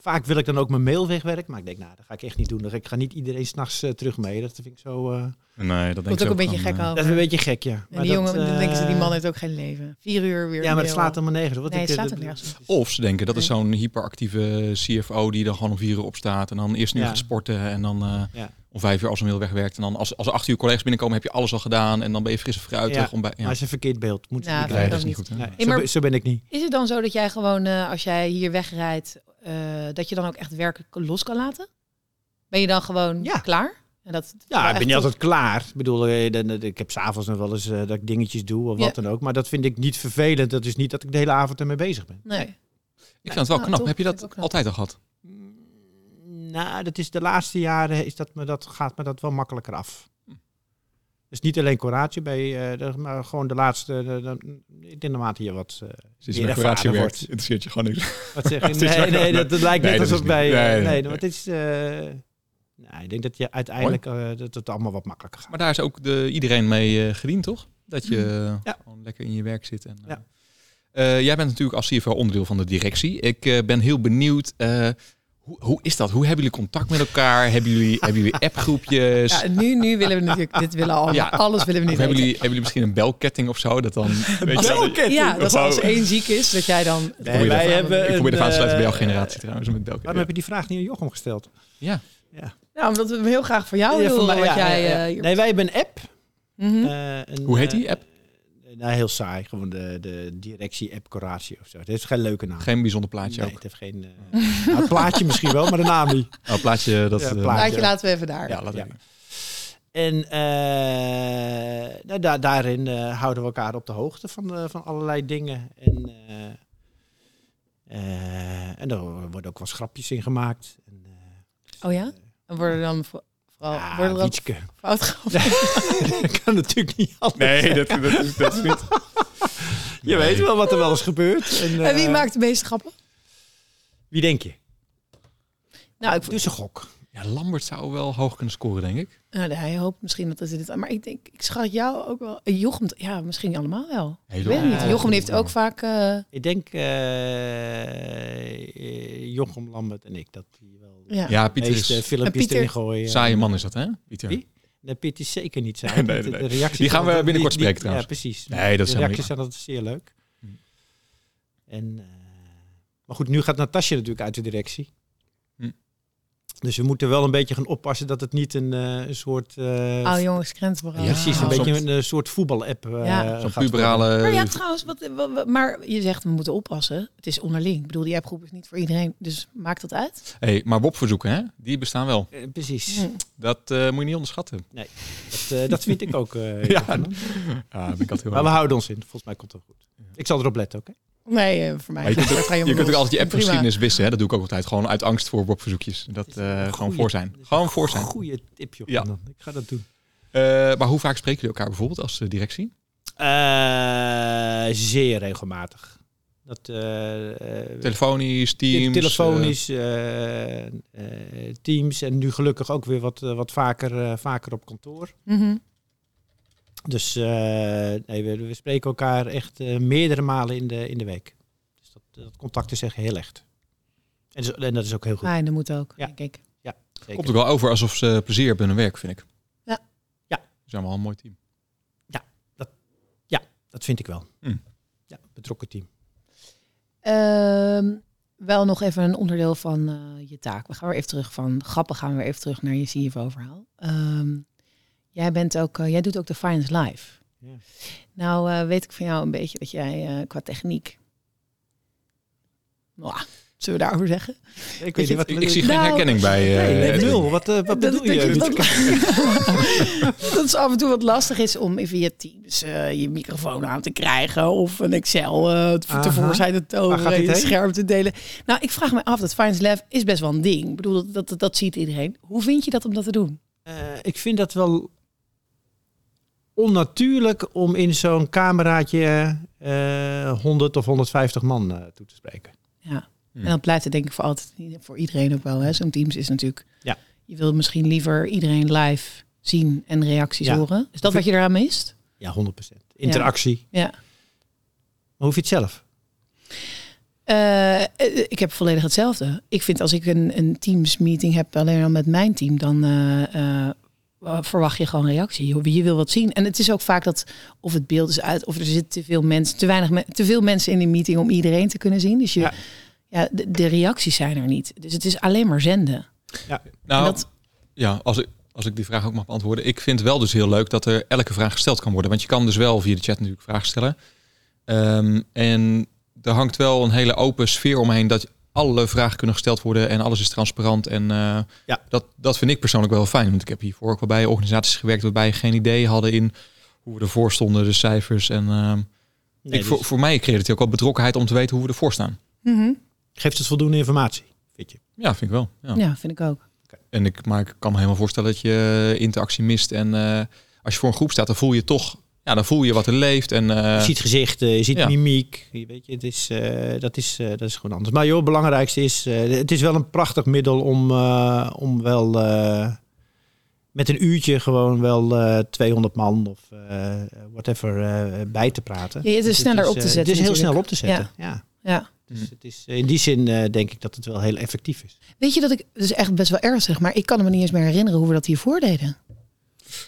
vaak wil ik dan ook mijn mail wegwerken, maar ik denk, nou, dat ga ik echt niet doen. Dan ga Ik ik ga niet iedereen s'nachts eh terug mee. Dat vind ik zo... eh,
Nee, dat denk
Komt
ik
ook een beetje
eh,
gek
dat
over.
is een beetje gek, ja. eh,
en die jongen, dan denken ze, die man heeft ook geen leven. Vier uur weer.
Ja, maar
mail.
het slaat helemaal nergens. op. Want
Nee,
ik,
het
eh,
slaat ook
dat-
nergens op.
dat-
Of ze denken, dat is zo'n hyperactieve CFO die dan gewoon om vier uur opstaat en dan eerst nu
Ja.
gaat sporten en dan eh,
Ja.
om vijf uur als een mail wegwerkt. En dan als, als er acht uur collega's binnenkomen heb je alles al gedaan en dan ben je frisse fruitig.
Ja.
om bij, ja.
Maar het is een verkeerd beeld. Moet
Nou,
niet
Nee,
vind ik
dat is niet
ook
goed.
niet.
hè?
Nee,
Nee,
zo,
maar-
ben, zo ben ik niet.
Is het dan zo dat jij gewoon, eh, als jij hier wegrijdt, eh, dat je dan ook echt werken los kan laten? Ben je dan gewoon
Ja.
klaar? En dat, dat wel
Ja, ik ben
echt
niet
tot-
altijd klaar. Ik bedoel, eh, dan- dan- ik heb s'avonds nog wel eens eh, dat ik dingetjes doe of
Ja.
wat dan ook. Maar dat vind ik niet vervelend. Dat is niet dat ik de hele avond ermee bezig ben.
Nee.
Ik vind het wel
Ja,
knap.
toch?
heb je
Vind ik
dat
ook knap.
altijd al gehad?
Nou, dat is de laatste jaren is dat me dat, gaat me dat wel makkelijker af. Dus niet alleen coratie, bij, eh, de- maar gewoon de laatste. eh, dan- ik denk naarmate je wat. eh,
Sinds je bij
Meer
Coratio
ervaren
werkt,
wordt.
interesseert je gewoon niks.
Wat zeg je?
Het is
Nee,
ook wel-
nee, dat, dat lijkt
Nee,
net
dat is
alsof
niet-
bij... eh,
nee,
Nee,
nee,
want het is... eh, nou, ik denk dat je uiteindelijk eh, dat het allemaal wat makkelijker gaat.
Maar daar is ook de, iedereen mee eh, gediend, toch? Dat je eh,
Mm-hmm. Ja.
gewoon lekker in je werk zit. En, eh,
Ja.
eh, jij bent natuurlijk als CFO onderdeel van de directie. Ik eh, ben heel benieuwd, eh, hoe, hoe is dat? Hoe hebben jullie contact met elkaar? hebben jullie, hebben jullie appgroepjes?
Dus-
Ja, nu, nu willen we natuurlijk, dit willen we allemaal,
Ja.
alles willen we
Of hebben
niet weten.
jullie, hebben jullie misschien een belketting of zo? Dat dan, weet je, wel,
Ja, dat
Of
is
wou-
als één ziek is, dat jij dan...
Probeer wij
dat-
hebben-
ik probeer
een,
even aan te sluiten bij jouw
eh,
generatie trouwens, met
Waarom
belketting.
heb je die vraag niet aan Jochem gesteld?
Ja.
Nou, omdat we hem heel graag voor jou
Ja,
willen,
van mij,
Oh, wat
ja,
jij...
ja, ja.
eh, hier-
Nee, wij hebben een app.
Mhm.
eh, een,
Hoe heet
eh,
die app?
nou, heel saai. Gewoon de, de directie-app Coratio of zo. Het heeft geen leuke naam.
Geen bijzonder plaatje
nee,
ook.
het heeft geen... eh, nou, het plaatje misschien wel, maar de naam niet.
Oh, plaatje, dat...
Ja,
eh,
plaatje.
Laat je laten we even daar.
Ja, laat
Ja.
even.
En eh, nou, da- daarin eh, houden we elkaar op de hoogte van, eh, van allerlei dingen. En, eh eh, en er worden ook wel eens grapjes in gemaakt. En, eh,
Oh ja? En worden dan voor- vooral
ja,
worden er ook
Wietske.
fout gevonden?
dat kan natuurlijk niet anders.
Nee, dat, dat, is, dat is niet...
Je weet wel wat er wel eens gebeurt. En,
En wie
eh,
maakt de meeste grappen?
Wie denk je?
Nou, ik,
Doe eens een gok.
Ja, Lambert zou wel hoog kunnen scoren, denk ik.
Nou, hij hoopt misschien dat hij dit... Maar ik denk, ik schat jou ook wel... eh, Jochem, ja, misschien allemaal wel.
Heel
Ik weet het
Ja,
niet. Jochem heeft ook
Ja.
vaak... eh,
Ik denk eh, eh, Jochem Lambert en ik. Dat die wel
ja.
Ja,
de
Pieter
meeste
is...
filmpjes
En Pieter-
erin gooien.
Saaie man is dat, hè? Pieter.
Wie? Nee, Piet is zeker niet
Nee,
saai. De-
nee,
de-
nee.
De reacties
Die gaan
zijn
we
altijd-
binnenkort
die- die-
spreken trouwens.
Ja, precies.
Nee, dat is helemaal
de reacties
niet-
zijn altijd zeer leuk.
Hm.
En, eh, maar goed, nu gaat Natasja natuurlijk uit de directie.
Hm.
Dus we moeten wel een beetje gaan oppassen dat het niet een, eh, een soort... eh,
Oh jongens, krentverhaal.
Ja,
precies, een
zo'n-
beetje eh, een eh, soort voetbal-app eh
Ja.
Ah, Zo'n
gaat worden.
puberale...
Maar ja, trouwens, wat, wa- wa- maar je zegt we moeten oppassen. Het is onderling. Ik bedoel, die appgroep is niet voor iedereen, dus maakt dat uit?
Hey, maar WOP-verzoeken, hè? Die bestaan wel.
Eh, precies.
Hm.
Dat eh, moet je niet onderschatten.
Dat, eh, dat vind ik ook. eh,
Ja.
Jochem.
Ja, ben ik altijd heel
Maar we houden ons in. Volgens mij komt het wel goed. Ik zal erop letten, oké?
Nee, eh, voor mij.
Maar je kunt,
gaat
ook,
het
je
helemaal
kunt ook
los.
altijd je
Prima. Mhm.
appgeschiedenis wissen. Hè? Dat doe ik ook altijd. Gewoon uit angst voor WOP-verzoekjes. Dat eh, gewoon voor zijn. Gewoon voor zijn.
Goeie tip, Jochem.
Ja.
Dan. Ik ga dat doen.
Eh, maar hoe vaak spreken jullie elkaar bijvoorbeeld als eh, directie?
Eh, zeer regelmatig. Dat, eh, eh,
Telefonisch, teams?
te-
eh,
telefonisch, eh, eh, teams en nu gelukkig ook weer wat, eh, wat vaker, eh, vaker op kantoor.
Mhm.
Dus eh, nee, we, we spreken elkaar echt eh, meerdere malen in de, in de week. Dus dat, dat contact is echt heel echt. En, zo- en dat is ook heel goed.
Fijn, dat moet ook,
Ja.
denk ik.
zeker.
komt ook wel over alsof ze plezier hebben in hun werk, vind ik.
Ja.
Ja.
Ze zijn wel een mooi team.
Dat vind ik wel.
Hm.
Ja, betrokken team.
Ehm, wel nog even een onderdeel van eh, je taak. We gaan weer even terug van grappen, gaan we weer even terug naar je CFO-verhaal. Ehm, jij, bent ook, eh, jij doet ook de Finance Live.
Ja.
Nou eh, weet ik van jou een beetje dat jij eh, qua techniek... Nou, zullen we daarover zeggen?
Ik weet niet wat...
Ik, ik zie geen
Nou,
herkenning bij.
Nee,
eh,
nee,
Edwin.
nul. Wat, eh, wat bedoel
dat,
je?
Dat, dat, dat is af en toe wat lastig is om via Teams eh, je microfoon aan te krijgen of een Excel eh te-
Aha.
tevoorschijn te
Waar
toveren
gaat
en
dit
je
heen?
scherm te delen. Nou, ik vraag me af, dat Finance Lab is best wel een ding. Ik bedoel, dat, dat, dat, ziet iedereen. Hoe vind je dat om dat te doen?
Eh, ik vind dat wel onnatuurlijk om in zo'n cameraatje eh 100 of 150 man eh, toe te spreken.
Ja.
Hm.
Hmm.
En dat blijft het denk ik voor altijd voor iedereen ook wel. hè. Zo'n Teams is natuurlijk...
Ja.
Je wil misschien liever iedereen live zien en reacties
Ja.
horen. Is dat wat je eraan mist?
Ja, 100%. Interactie.
Ja.
Maar hoe vind je het zelf?
Eh, eh, ik heb volledig hetzelfde. Ik vind als ik een, een Teams meeting heb, alleen al met mijn team, dan eh, eh, wa- verwacht je gewoon reactie. Je- Je wil wat zien. En het is ook vaak dat of het beeld is uit, of er zitten te veel mensen, te weinig men- te veel mensen in die meeting om iedereen te kunnen zien. Dus je, ja.
Ja.
de, de reacties zijn er niet. Dus het is alleen maar zenden.
Nou,
En dat-
ja, als ik, als ik die vraag ook mag beantwoorden. Ik vind wel dus heel leuk dat er elke vraag gesteld kan worden. Want je kan dus wel via de chat natuurlijk vragen stellen. Ehm, en er hangt wel een hele open sfeer omheen dat alle vragen kunnen gesteld worden en alles is transparant. En eh,
Ja.
dat, dat vind ik persoonlijk wel fijn. Want ik heb hiervoor ook wel bij organisaties gewerkt waarbij geen idee hadden in hoe we ervoor stonden, de cijfers. En ehm, ik,
dus
voor, voor mij creëert het ook wel betrokkenheid om te weten hoe we ervoor staan.
mhm.
Geeft het voldoende informatie, vind je?
Ja, vind ik wel. Ja.
Ja, vind ik ook.
En ik, maar ik kan me helemaal voorstellen dat je interactie mist. En eh, als je voor een groep staat, dan voel je toch, ja, dan voel je wat er leeft. En eh,
je ziet gezichten, je ziet
ja.
mimiek. Je weet je, het is, eh, dat, is, eh, dat is gewoon anders. Maar joh, het belangrijkste is... eh, het is wel een prachtig middel om, eh, om wel... eh, met een uurtje gewoon wel eh, 200 man of eh, whatever eh, bij te praten.
Ja, het is
Dus
sneller op te
eh,
zetten
Het is heel
natuurlijk.
snel op te zetten, ja.
Ja.
Dus het is, in die zin eh, denk ik dat het wel heel effectief is.
Weet je dat ik, dus echt best wel ernstig, maar ik kan me niet eens meer herinneren hoe we dat hiervoor deden.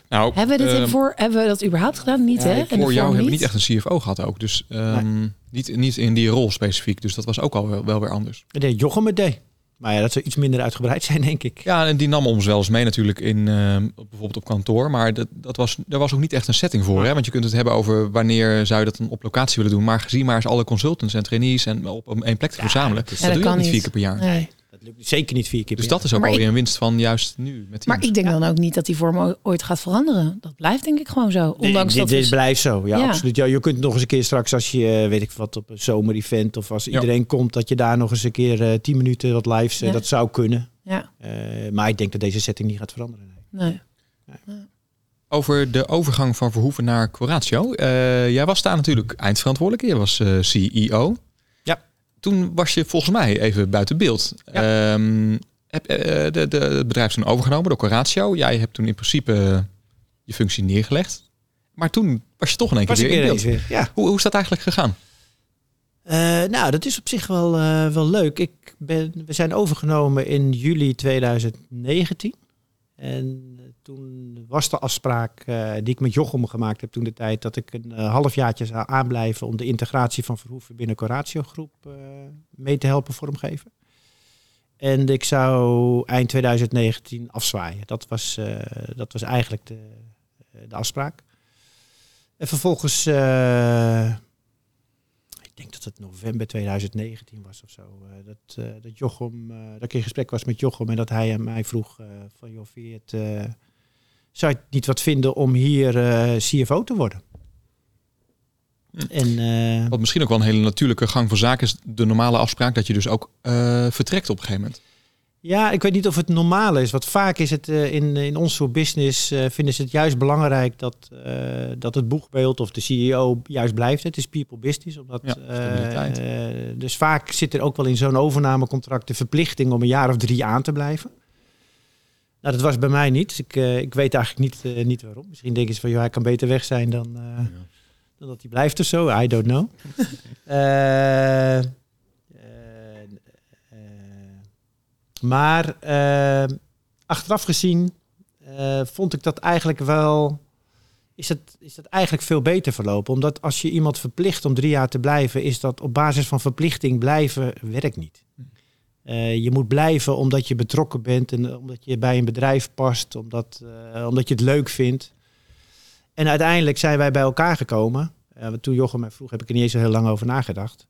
nou,
Hebben we, dit
ehm,
hiervoor, hebben we dat überhaupt gedaan? Niet,
ja,
hè?
ik-
En
voor jou
hiervoor
hebben we niet echt een CFO gehad ook. Dus ehm, niet, niet in die rol specifiek. Dus dat was ook al wel, wel weer anders.
Ik denk Jochem het deed. Maar ja, dat zou iets minder uitgebreid zijn, denk ik.
Ja, en die nam ons wel eens mee natuurlijk in ehm, bijvoorbeeld op kantoor. Maar dat, dat was, daar was ook niet echt een setting voor. Hè? Want je kunt het hebben over wanneer zou je dat dan op locatie willen doen. Maar gezien maar eens alle consultants en trainees en op één plek te
Ja,
verzamelen.
dat is-
dat,
Ja, dat
doe je ook
kan
niet vier
niet.
keer per jaar.
Nee.
Dat lukt zeker niet vier keer
Dus
per
dat is ook
Maar
alweer
ik-
een winst van juist nu. Met
Maar
teams.
ik denk dan ook niet dat die vorm o- ooit gaat veranderen. Dat blijft denk ik gewoon zo.
Nee,
Ondanks
dit,
dat we-
dit blijft zo. Ja,
Ja.
absoluut. Ja, je kunt nog eens een keer straks als je, eh, weet ik wat, op een zomerevent of als
Ja.
iedereen komt, dat je daar nog eens een keer eh, 10 minuten wat lives, eh,
Ja.
dat zou kunnen.
Ja,
Eh, maar ik denk dat deze setting niet gaat veranderen. nee.
nee.
Over de overgang van Verhoeven naar Coratio. Eh, jij was daar natuurlijk eindverantwoordelijk. Je was eh, CEO.
Ja.
Toen was je volgens mij even buiten beeld. Ehm, heb, eh, de, de, het bedrijf is toen overgenomen door Coratio. Jij hebt toen in principe eh, je functie neergelegd. Maar toen was je toch in één keer
Was ik
weer in
weer
beeld.
eens weer. Ja.
Hoe, hoe is dat eigenlijk gegaan?
Eh, nou, dat is op zich wel, eh, wel leuk. Ik ben, we zijn overgenomen in juli 2019. En eh, toen was de afspraak eh, die ik met Jochem gemaakt heb toen de tijd... dat ik een eh, halfjaartje zou aanblijven om de integratie van Verhoeven binnen Coratio Groep eh, mee te helpen vormgeven. En ik zou eind 2019 afzwaaien. Dat was, eh, dat was eigenlijk de, eh, de afspraak. En vervolgens... eh, ik denk dat het november 2019 was of zo. eh, dat, eh, dat, Jochem, eh, dat ik in gesprek was met Jochem en dat hij aan mij vroeg eh, van joh, vind je het, eh, zou je het niet wat vinden om hier eh, CFO te worden?
Hm.
En eh,
Wat misschien ook wel een hele natuurlijke gang van zaken is. De normale afspraak dat je dus ook eh, vertrekt op een gegeven moment.
Ja, ik weet niet of het normaal is. Want vaak is het eh, in, in ons soort business eh, vinden ze het juist belangrijk dat, eh, dat het boegbeeld of de CEO juist blijft. Het is people business. Omdat,
Ja,
eh,
stabiliteit.
eh, dus vaak zit er ook wel in zo'n overnamecontract de verplichting om een jaar of drie aan te blijven. Nou, dat was bij mij niet. Dus ik, eh, ik weet eigenlijk niet, eh, niet waarom. Misschien denken ze van, ja, hij kan beter weg zijn dan, eh, dan dat hij blijft of zo. I don't know. Eh, eh, eh, maar eh, achteraf gezien eh, vond ik dat eigenlijk wel is dat, is dat eigenlijk veel beter verlopen. Omdat als je iemand verplicht om drie jaar te blijven, is dat op basis van verplichting blijven werkt niet. Eh, je moet blijven omdat je betrokken bent en eh, omdat je bij een bedrijf past, omdat, eh, omdat je het leuk vindt. En uiteindelijk zijn wij bij elkaar gekomen. Eh, want toen Jochem mij vroeg, heb ik er niet eens zo heel lang over nagedacht.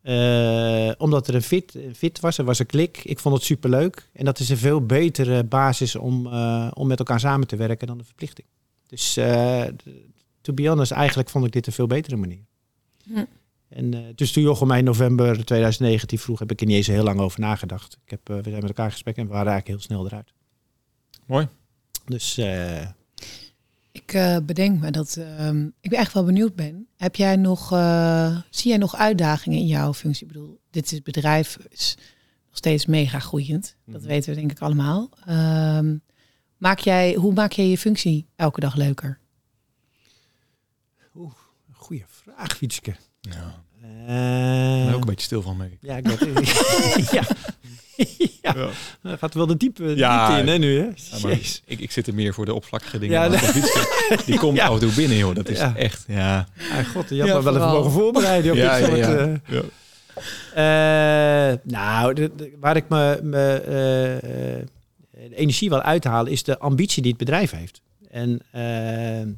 Eh, omdat er een fit, een fit was, er was een klik. Ik vond het superleuk. En dat is een veel betere basis om, eh, om met elkaar samen te werken dan de verplichting. Dus eh, to be honest, eigenlijk vond ik dit een veel betere manier.
Hm.
En eh, dus toen Jochem mij in november 2019 vroeg, heb ik er niet eens heel lang over nagedacht. Ik heb, eh, we zijn met elkaar in gesprek en we waren eigenlijk heel snel eruit.
Mooi.
Dus eh,
Ik eh, bedenk me dat ehm, ik echt wel benieuwd ben. Heb jij nog, eh, zie jij nog uitdagingen in jouw functie? Ik bedoel, dit is bedrijf is nog steeds mega groeiend. Dat
Mhm.
weten we denk ik allemaal. Ehm, maak jij, hoe maak jij je functie elke dag leuker?
goede vraag, Fietske.
Ja.
Eh,
Daar ben ik ook een beetje stil van, merk ik.
ja, ik dacht- ja. ja,
Ja.
dan gaat wel de diepe, de
Ja.
diepte in hè, nu. Hè?
Ja, maar
Jeez.
ik, ik zit er meer voor de oppervlakkige dingen.
Ja,
maar
nee.
dat fietsen, die komt
Ja.
af en toe binnen, joh. Dat is
Ja.
echt, ja.
Ah, god, je had
Ja,
me wel even
vooral.
mogen voorbereiden op
Ja,
dit soort...
ja, ja.
eh,
ja.
Eh, nou, de- de- waar ik me, me, eh, eh, de energie wel uithaal, is de ambitie die het bedrijf heeft. En eh, eh,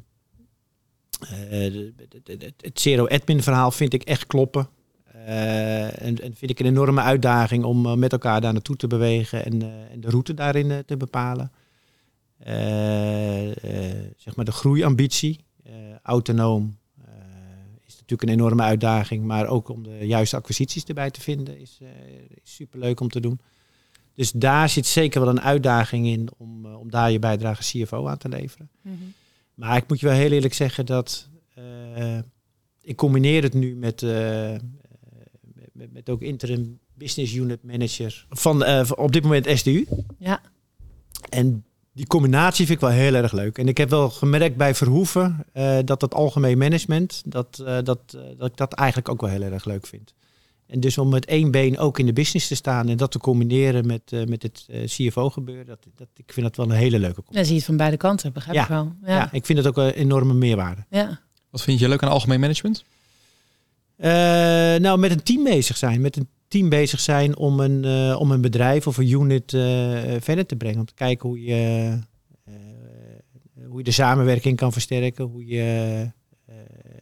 de- de- de- de- het zero-admin verhaal vind ik echt kloppen. Eh, en, en vind ik een enorme uitdaging om eh, met elkaar daar naartoe te bewegen en, eh, en de route daarin eh, te bepalen. Eh, eh, zeg maar de groeiambitie, eh, autonoom, eh, is natuurlijk een enorme uitdaging. Maar ook om de juiste acquisities erbij te vinden is, eh, is superleuk om te doen. Dus daar zit zeker wel een uitdaging in om, eh, om daar je bijdrage CFO aan te leveren. Maar ik moet je wel heel eerlijk zeggen dat eh, ik combineer het nu met, eh, eh, met, met ook interim business unit manager van eh, van op dit moment SDU.
Ja.
En die combinatie vind ik wel heel erg leuk. En ik heb wel gemerkt bij Verhoeven eh, dat dat algemeen management, dat, eh, dat, eh, dat ik dat eigenlijk ook wel heel erg leuk vind. En dus om met één been ook in de business te staan en dat te combineren met, eh, met het CFO gebeuren, dat, dat, ik vind dat wel een hele leuke combi.
Dan zie je het van beide kanten, begrijp
Ja.
ik wel.
Ja.
Ja.
ik vind het ook een enorme meerwaarde.
Ja.
Wat vind je leuk aan algemeen management?
Eh, nou, met een team bezig zijn. Met een team bezig zijn om een, eh, om een bedrijf of een unit eh, eh, verder te brengen. Om te kijken hoe je, eh, hoe je de samenwerking kan versterken. Hoe je, eh,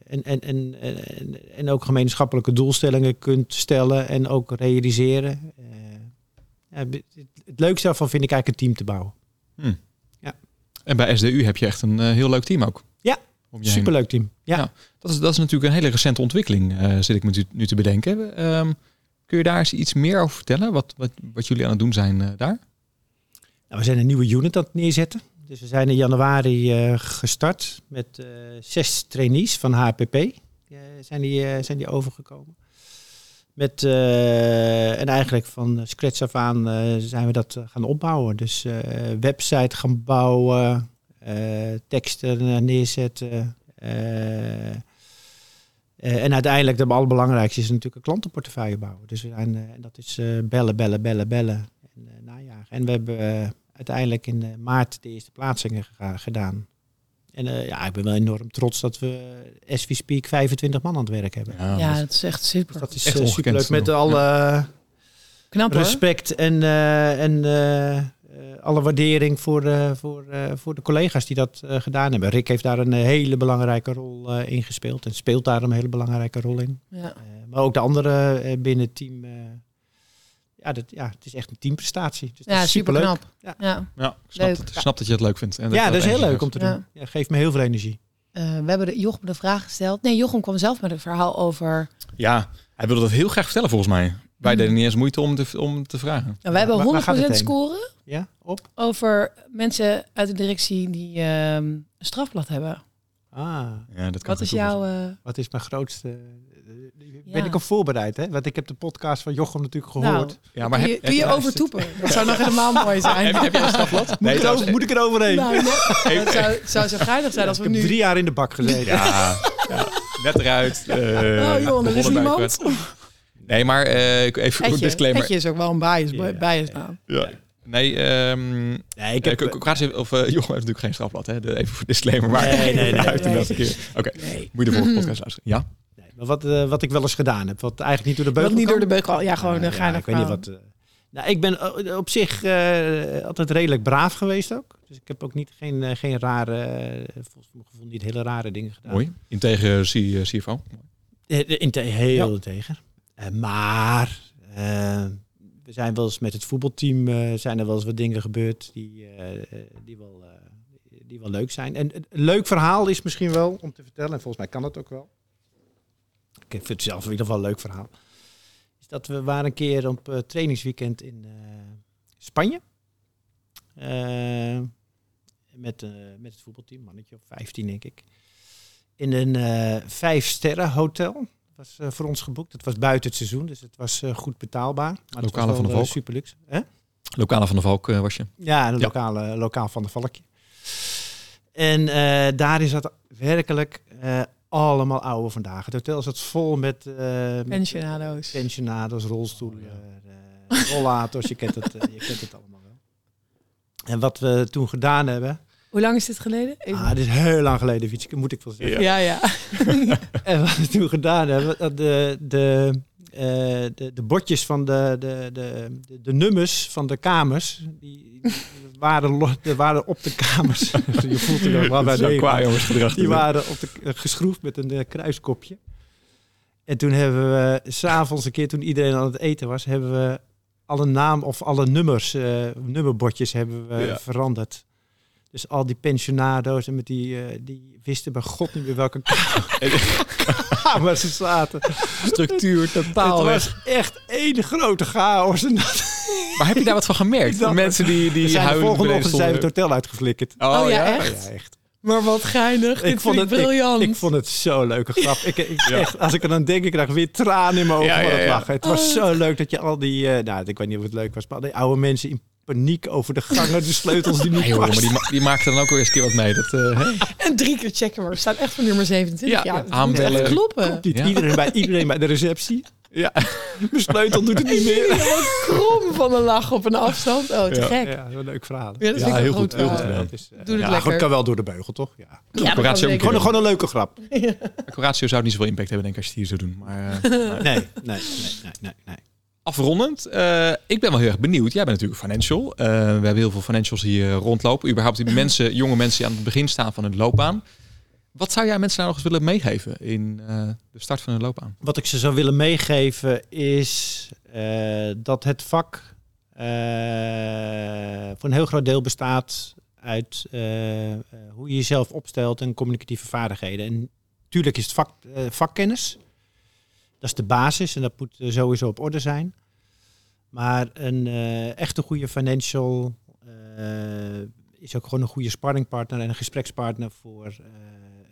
en, en, en, en, en ook gemeenschappelijke doelstellingen kunt stellen en ook realiseren. Eh, ja, het, het leukste daarvan vind ik eigenlijk een team te bouwen.
En bij SDU heb je echt een eh, heel leuk team ook.
Ja,
Om je heen.
Superleuk team. Ja.
Ja. Dat is, dat is natuurlijk een hele recente ontwikkeling, eh, zit ik me nu- nu te bedenken. Ehm, kun je daar eens iets meer over vertellen? Wat, wat, wat jullie aan het doen zijn eh, daar?
Nou, we zijn een nieuwe unit aan het neerzetten. Dus we zijn in januari eh, gestart met eh, zes trainees van HPP. eh, zijn, die, eh, zijn die overgekomen. Met, eh, en eigenlijk van scratch af aan eh, zijn we dat eh, gaan opbouwen. Dus eh, website gaan bouwen, eh, teksten eh, neerzetten. eh, eh, en uiteindelijk, het allerbelangrijkste is natuurlijk een klantenportefeuille bouwen. Dus we zijn, eh, en dat is eh, bellen, bellen, bellen, bellen en eh, najagen. En we hebben eh, uiteindelijk in eh, maart de eerste plaatsingen gega- gedaan. En eh, ja, ik ben wel enorm trots dat we eh, as we speak 25 man aan het werk hebben.
Ja,
ja,
dat-
dat is echt
Dus
super.
dat is
Echt
eh,
ongekend
superleuk.
te
Met
doen.
alle
Knap hoor.
respect en, eh, en eh, eh, alle waardering voor, eh, voor, eh, voor de collega's die dat eh, gedaan hebben. Rick heeft daar een eh, hele belangrijke rol eh, in gespeeld. En speelt daar een hele belangrijke rol in.
Ja.
Eh, maar ook de anderen eh, binnen het team. eh, ja, dat, ja, het is echt een teamprestatie. Dus dat
Ja,
is
super
superleuk.
knap.
Ja.
Ja.
ja, ik snap,
Leuk.
dat, ik snap dat je het leuk vindt. En
Ja, dat is heel
energie
leuk om
geeft.
te
Ja.
doen. Ja, geeft me heel veel energie.
Eh, we hebben de, Jochem de vraag gesteld. Nee, Jochem kwam zelf met een verhaal over. Nou,
Ja, hij wilde dat heel graag vertellen volgens mij. Wij
Hmm.
deden niet eens moeite om te, om te vragen.
Nou, wij
Ja, waar- waar gaat
hebben 100%
het heen?
scoren
Ja, op.
over mensen uit de directie die ehm, een strafblad hebben.
Ah,
Ja, dat kan geen
Wat is
toeval zijn.
jouw. eh,
wat is mijn grootste... eh,
Ja.
Ben ik op voorbereid, hè? Want ik heb de podcast van Jochem natuurlijk
nou,
gehoord.
Ja,
doe
heb-
je,
heb
doe je
daar-
overtoepen. Dat zou nog helemaal mooi zijn.
Heb, heb je een strafblad? Nee,
moet, ik er
trouwens,
over- moet ik er overheen?
Nou, net- dat zou, het zou zo geinig zijn als
ik
we
heb
nu.
drie jaar in de bak gezeten.
Ja, ja, net eruit. eh,
oh joh, er is
begonnen bij
niemand.
elkaar. Nee, maar eh, even een
Etje.
disclaimer.
Etje is ook wel een bias,
Ja.
biasnaam.
Ja. Nee, ehm
Nee,
eh,
ik heb...
K- K- Kwaad is- of eh, Johan heeft natuurlijk geen strafblad, hè? De- Even voor disclaimer, maar
Nee, nee, nee,
uit
nee.
de laatste keer. Oké,
nee,
moet je de volgende podcast luisteren. Ja,
nee. Maar wat, eh, wat ik wel eens gedaan heb, wat eigenlijk niet door de
Wat
beugel
niet
kan.
door de beugel. Ja, gewoon
Nou Ja,
eh, ga
ja,
naar
ik weet niet wat. eh, nou, ik ben o- op zich eh, altijd redelijk braaf geweest ook. Dus ik heb ook niet, geen, eh, geen rare, eh, volgens mijn gevoel niet hele rare dingen gedaan.
mooi. Integer C- CFO.
Eh, eh, inte- heel integer. Eh, maar eh, we zijn wel eens met het voetbalteam eh, zijn er wel eens wat dingen gebeurd die, eh, eh, die, wel, eh, die wel leuk zijn. En een leuk verhaal is misschien wel om te vertellen. En volgens mij kan dat ook wel. Ik vind het zelf in ieder geval een leuk verhaal. Is dat we waren een keer op eh, trainingsweekend in eh, Spanje. Eh, met, eh, met het voetbalteam, mannetje op 15 denk ik in een eh vijf sterren hotel. Dat was eh, voor ons geboekt. Het was buiten het seizoen, dus het was eh, goed betaalbaar. Maar het was
Lokale
wel,
van de
eh,
Valk.
super luxe. Hè?
Lokale van de Valk eh, was je.
Ja, een
Ja.
lokale, lokaal van de Valkje. En eh, daarin zat werkelijk eh, allemaal oude vandaag. Het hotel zat vol met, eh met
Pensionado's.
pensionados, rolstoelen,
Oh,
eh, rollators. je, kent het, eh, je kent het allemaal wel. En wat we toen gedaan hebben,
Hoe lang is dit geleden? Even-
ah, Oh, dit is heel lang geleden, Wietske, moet ik wel zeggen.
Ja.
ja, ja.
En wat we toen gedaan hebben, dat de, de, eh, de, de bordjes van de, de, de, de, de nummers van de kamers, die, die waren, lo- die waren op de kamers. Je voelt het ook wel bij
Dat is
de
zo'n kwajongensgedrag.
Die waren op de, eh, geschroefd met een eh, kruiskopje. En toen hebben we eh, s'avonds een keer, toen iedereen aan het eten was, hebben we alle naam of alle nummers, eh, nummerbordjes hebben we
Ja.
veranderd. Dus al die pensionado's en met die, eh, die wisten bij god niet meer welke kamer ze zaten.
Structuur totaal.
het
weg.
was echt één grote chaos. En dat
Maar heb je daar wat van gemerkt?
Dat-
Mensen die, die
we zijn de
huilen
volgende
beneden
ochtend zijn we het
stonden.
hotel uitgeflikkerd.
Oh ja,
Ja,
echt?
echt.
Maar wat geinig.
Ik
Ik
vond
vond het
het-
briljant.
Ik vond het zo'n leuke grap. Ik, ik,
Ja.
echt, als ik er dan denk, ik krijg weer tranen in mijn ogen
Ja,
van
ja,
het
ja. Oh.
lachen. Het was zo leuk dat je al die, eh, nou, ik weet niet of het leuk was, maar al die oude mensen in paniek over de gangen, de sleutels die niet
Nee, hoor, maar
pasten.
die, ma- die maakten dan ook weer eens een keer wat mee. Dat, eh, hè?
En drie keer checken, maar we staan echt voor nummer 27.
Ja,
Ja,
aanbellen.
aanbellen. Kloppen.
Komt niet
Ja.
iedereen, bij, iedereen bij de receptie.
ja.
Mijn sleutel doet het niet meer.
Jullie helemaal krom van een lach op een afstand. Oh, te
Ja.
gek. Ja,
Ja, wat een leuk verhaal.
dat is
Ja, heel goed, heel goed
Eh,
gedaan.
het is, eh,
Doe het
ja,
lekker.
gewoon- kan wel door de beugel, toch? Ja.
Ja, dat kan
Decoratie
zeker.
ook
Gewoon,
een
een- gewoon een leuke grap.
keer. Decoratie zou niet zoveel impact hebben, denk ik, als je het hier zou doen. Maar, eh, nou,
Nee, nee, nee, nee, nee. nee.
Afrondend, eh, ik ben wel heel erg benieuwd. Jij bent natuurlijk financial. Eh, we hebben heel veel financials hier rondlopen. Überhaupt die mensen, jonge mensen die aan het begin staan van hun loopbaan. Wat zou jij mensen nou nog eens willen meegeven in eh, de start van hun loopbaan?
Wat ik ze zou willen meegeven is eh, dat het vak eh, voor een heel groot deel bestaat uit eh, eh, hoe je jezelf opstelt en communicatieve vaardigheden. En tuurlijk is het vak, eh, vakkennis. Dat is de basis en dat moet eh, sowieso op orde zijn. Maar een eh, echte goede financial eh, is ook gewoon een goede sparringpartner en een gesprekspartner voor, eh,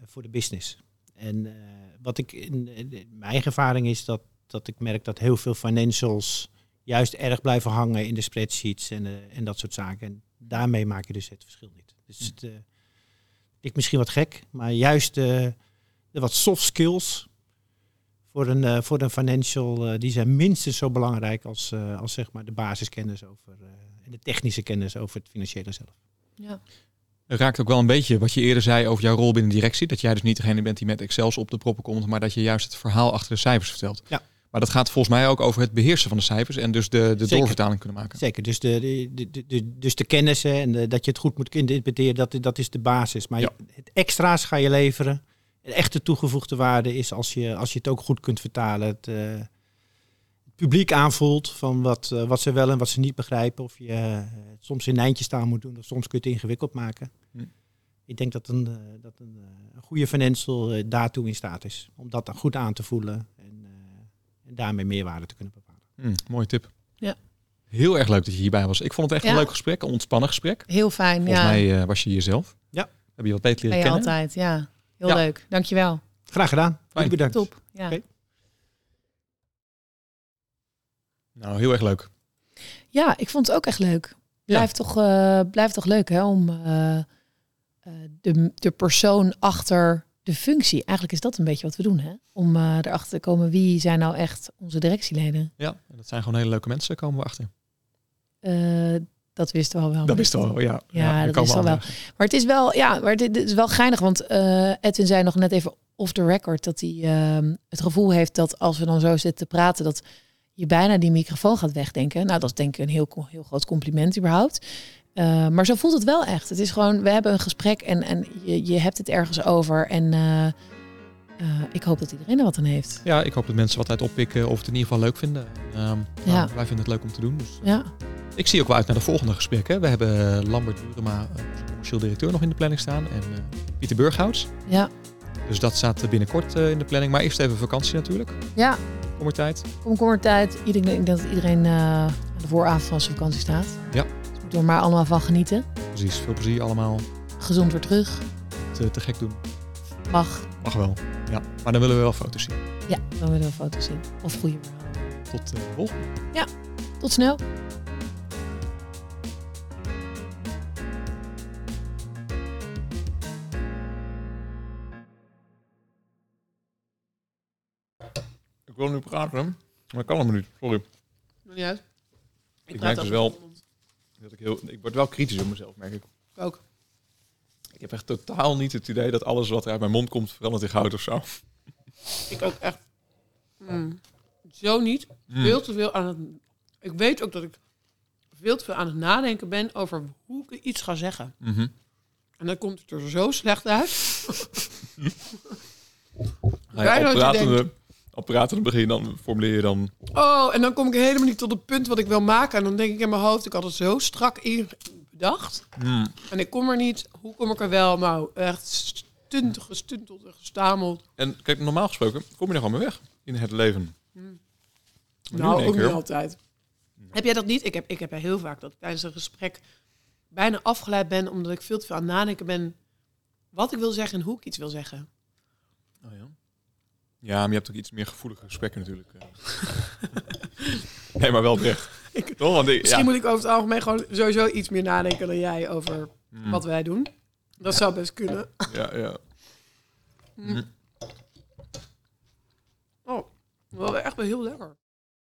voor de business. En eh, wat ik in, in- in mijn eigen ervaring is dat, dat ik merk dat heel veel financials juist erg blijven hangen in de spreadsheets en, eh, en dat soort zaken. En daarmee maak je dus het verschil niet. Dus het eh, klinkt misschien wat gek, maar juist eh, de wat soft skills voor een, eh, voor een financial, eh, die zijn minstens zo belangrijk als, eh, als zeg maar de basiskennis over eh, en de technische kennis over het financiële zelf.
Ja.
Het Raakt ook wel een beetje wat je eerder zei over jouw rol binnen directie. Dat jij dus niet degene bent die met Excels op de proppen komt, maar dat je juist het verhaal achter de cijfers vertelt.
Ja.
Maar dat gaat volgens mij ook over het beheersen van de cijfers en dus de, de
Zeker.
doorvertaling kunnen maken.
Zeker, dus de, de, de, de- dus de kennis hè, en de- dat je het goed moet kunnen interpreteren, dat, dat is de basis. Maar
Ja.
je- het extra's ga je leveren. De echte toegevoegde waarde is als je, als je het ook goed kunt vertalen. Het, eh, het publiek aanvoelt van wat, eh, wat ze wel en wat ze niet begrijpen. Of je eh, het soms in eindjes staan moet doen, of soms kun je het ingewikkeld maken.
Hm.
Ik denk dat een, eh, dat een, eh, een goede financial eh, daartoe in staat is. Om dat dan goed aan te voelen en, eh, en daarmee meerwaarde te kunnen bepalen.
Hm, mooie tip.
Ja.
Heel erg leuk dat je hierbij was. Ik vond het echt
Ja.
een leuk gesprek, een ontspannen gesprek.
Heel fijn.
Volgens
ja.
mij eh, was je jezelf.
Ja.
Heb je wat beter
ben
leren
je
kennen?
altijd. Ja. Heel
Ja.
leuk. Dankjewel.
Graag gedaan.
Fijn.
Bedankt.
Top. Ja.
Oké.
Nou, heel erg leuk.
ja, ik vond het ook echt leuk. Blijft, toch, eh, blijft toch leuk hè, om eh, eh, de, de persoon achter de functie. Eigenlijk is dat een beetje wat we doen. Hè? Om eh, erachter te komen wie zijn nou echt onze directieleden. Oh,
Ja, en dat zijn gewoon hele leuke mensen, komen we achter.
Eh, Dat wisten we al wel.
Dat wist al, ja.
Ja,
er
dat
komen
wist al wel.
anderen.
Maar het is wel, ja, maar dit, dit is wel geinig. Want eh, Edwin zei nog net even off the record dat hij ehm, het gevoel heeft dat als we dan zo zitten te praten, dat je bijna die microfoon gaat wegdenken. Nou, dat is denk ik een heel, co- heel groot compliment überhaupt. Eh, maar zo voelt het wel echt. Het is gewoon, we hebben een gesprek en, en je, je hebt het ergens over. En eh, eh, ik hoop dat iedereen er wat aan heeft.
Ja, ik hoop dat mensen wat uit oppikken of het in ieder geval leuk vinden. Ehm,
Ja.
nou, wij vinden het leuk om te doen. Dus.
Ja,
Ik zie ook wel uit naar de volgende gesprekken. We hebben eh, Lambert Burema, eh, onze commercieel directeur, nog in de planning staan. En eh, Pieter Burghouts.
ja,
Dus dat staat eh, binnenkort eh, in de planning. Maar eerst even vakantie natuurlijk.
ja.
Kom er tijd.
Komkommertijd. Iedereen ik denk dat iedereen eh, aan de vooravond van zijn vakantie staat.
Ja.
Dus we moeten er maar allemaal van genieten.
Precies. Veel plezier allemaal.
Gezond weer terug.
eh, Te, te gek doen.
Mag.
Mag wel. Ja. Maar dan willen we wel foto's zien.
Ja, dan willen we foto's zien. Of goede verhalen.
Tot eh, de volgende.
Tot snel.
Ik wil nu praten, maar ik kan helemaal niet. Sorry.
Maakt niet uit.
Ik merk
praat
dus
ook
wel-
met iemand.
Dat ik, heel, ik word wel kritisch op mezelf, merk ik.
Ik ook.
Ik heb echt totaal niet het idee dat alles wat er uit mijn mond komt verandert in goud of zo.
Ik ook echt. mm, Zo niet.
Mm.
Veel te veel aan het. Ik weet ook dat ik veel te veel aan het nadenken ben over hoe ik iets ga zeggen.
Mhm.
En dan komt het er zo slecht uit.
Nou ja,
Bijna
al,
wat je
pratende, al pratende begin dan formuleer je dan...
Oh, en dan kom ik helemaal niet tot het punt wat ik wil maken. En dan denk ik in mijn hoofd, ik had het zo strak in bedacht.
hmm,
En ik kom er niet. Hoe kom ik er wel? Nou, echt stunt, gestunteld en gestameld.
En kijk, normaal gesproken kom je er gewoon mee weg in het leven. Maar nu in
Mm. Nou,
één
ook
keer-
niet altijd. Heb jij dat niet? Ik heb, ik heb heel vaak dat ik tijdens een gesprek bijna afgeleid ben... omdat ik veel te veel aan het nadenken ben wat ik wil zeggen en hoe ik iets wil zeggen.
Oh ja. ja, maar je hebt ook iets meer gevoelige gesprekken natuurlijk. eh. nee, maar wel terecht.
Ik-
Toch? Want ik-
Misschien
ja.
moet ik over het algemeen gewoon sowieso iets meer nadenken dan jij over
Hmm,
wat wij doen. Dat zou best kunnen.
Ja, ja.
Oh, wel echt wel heel lekker.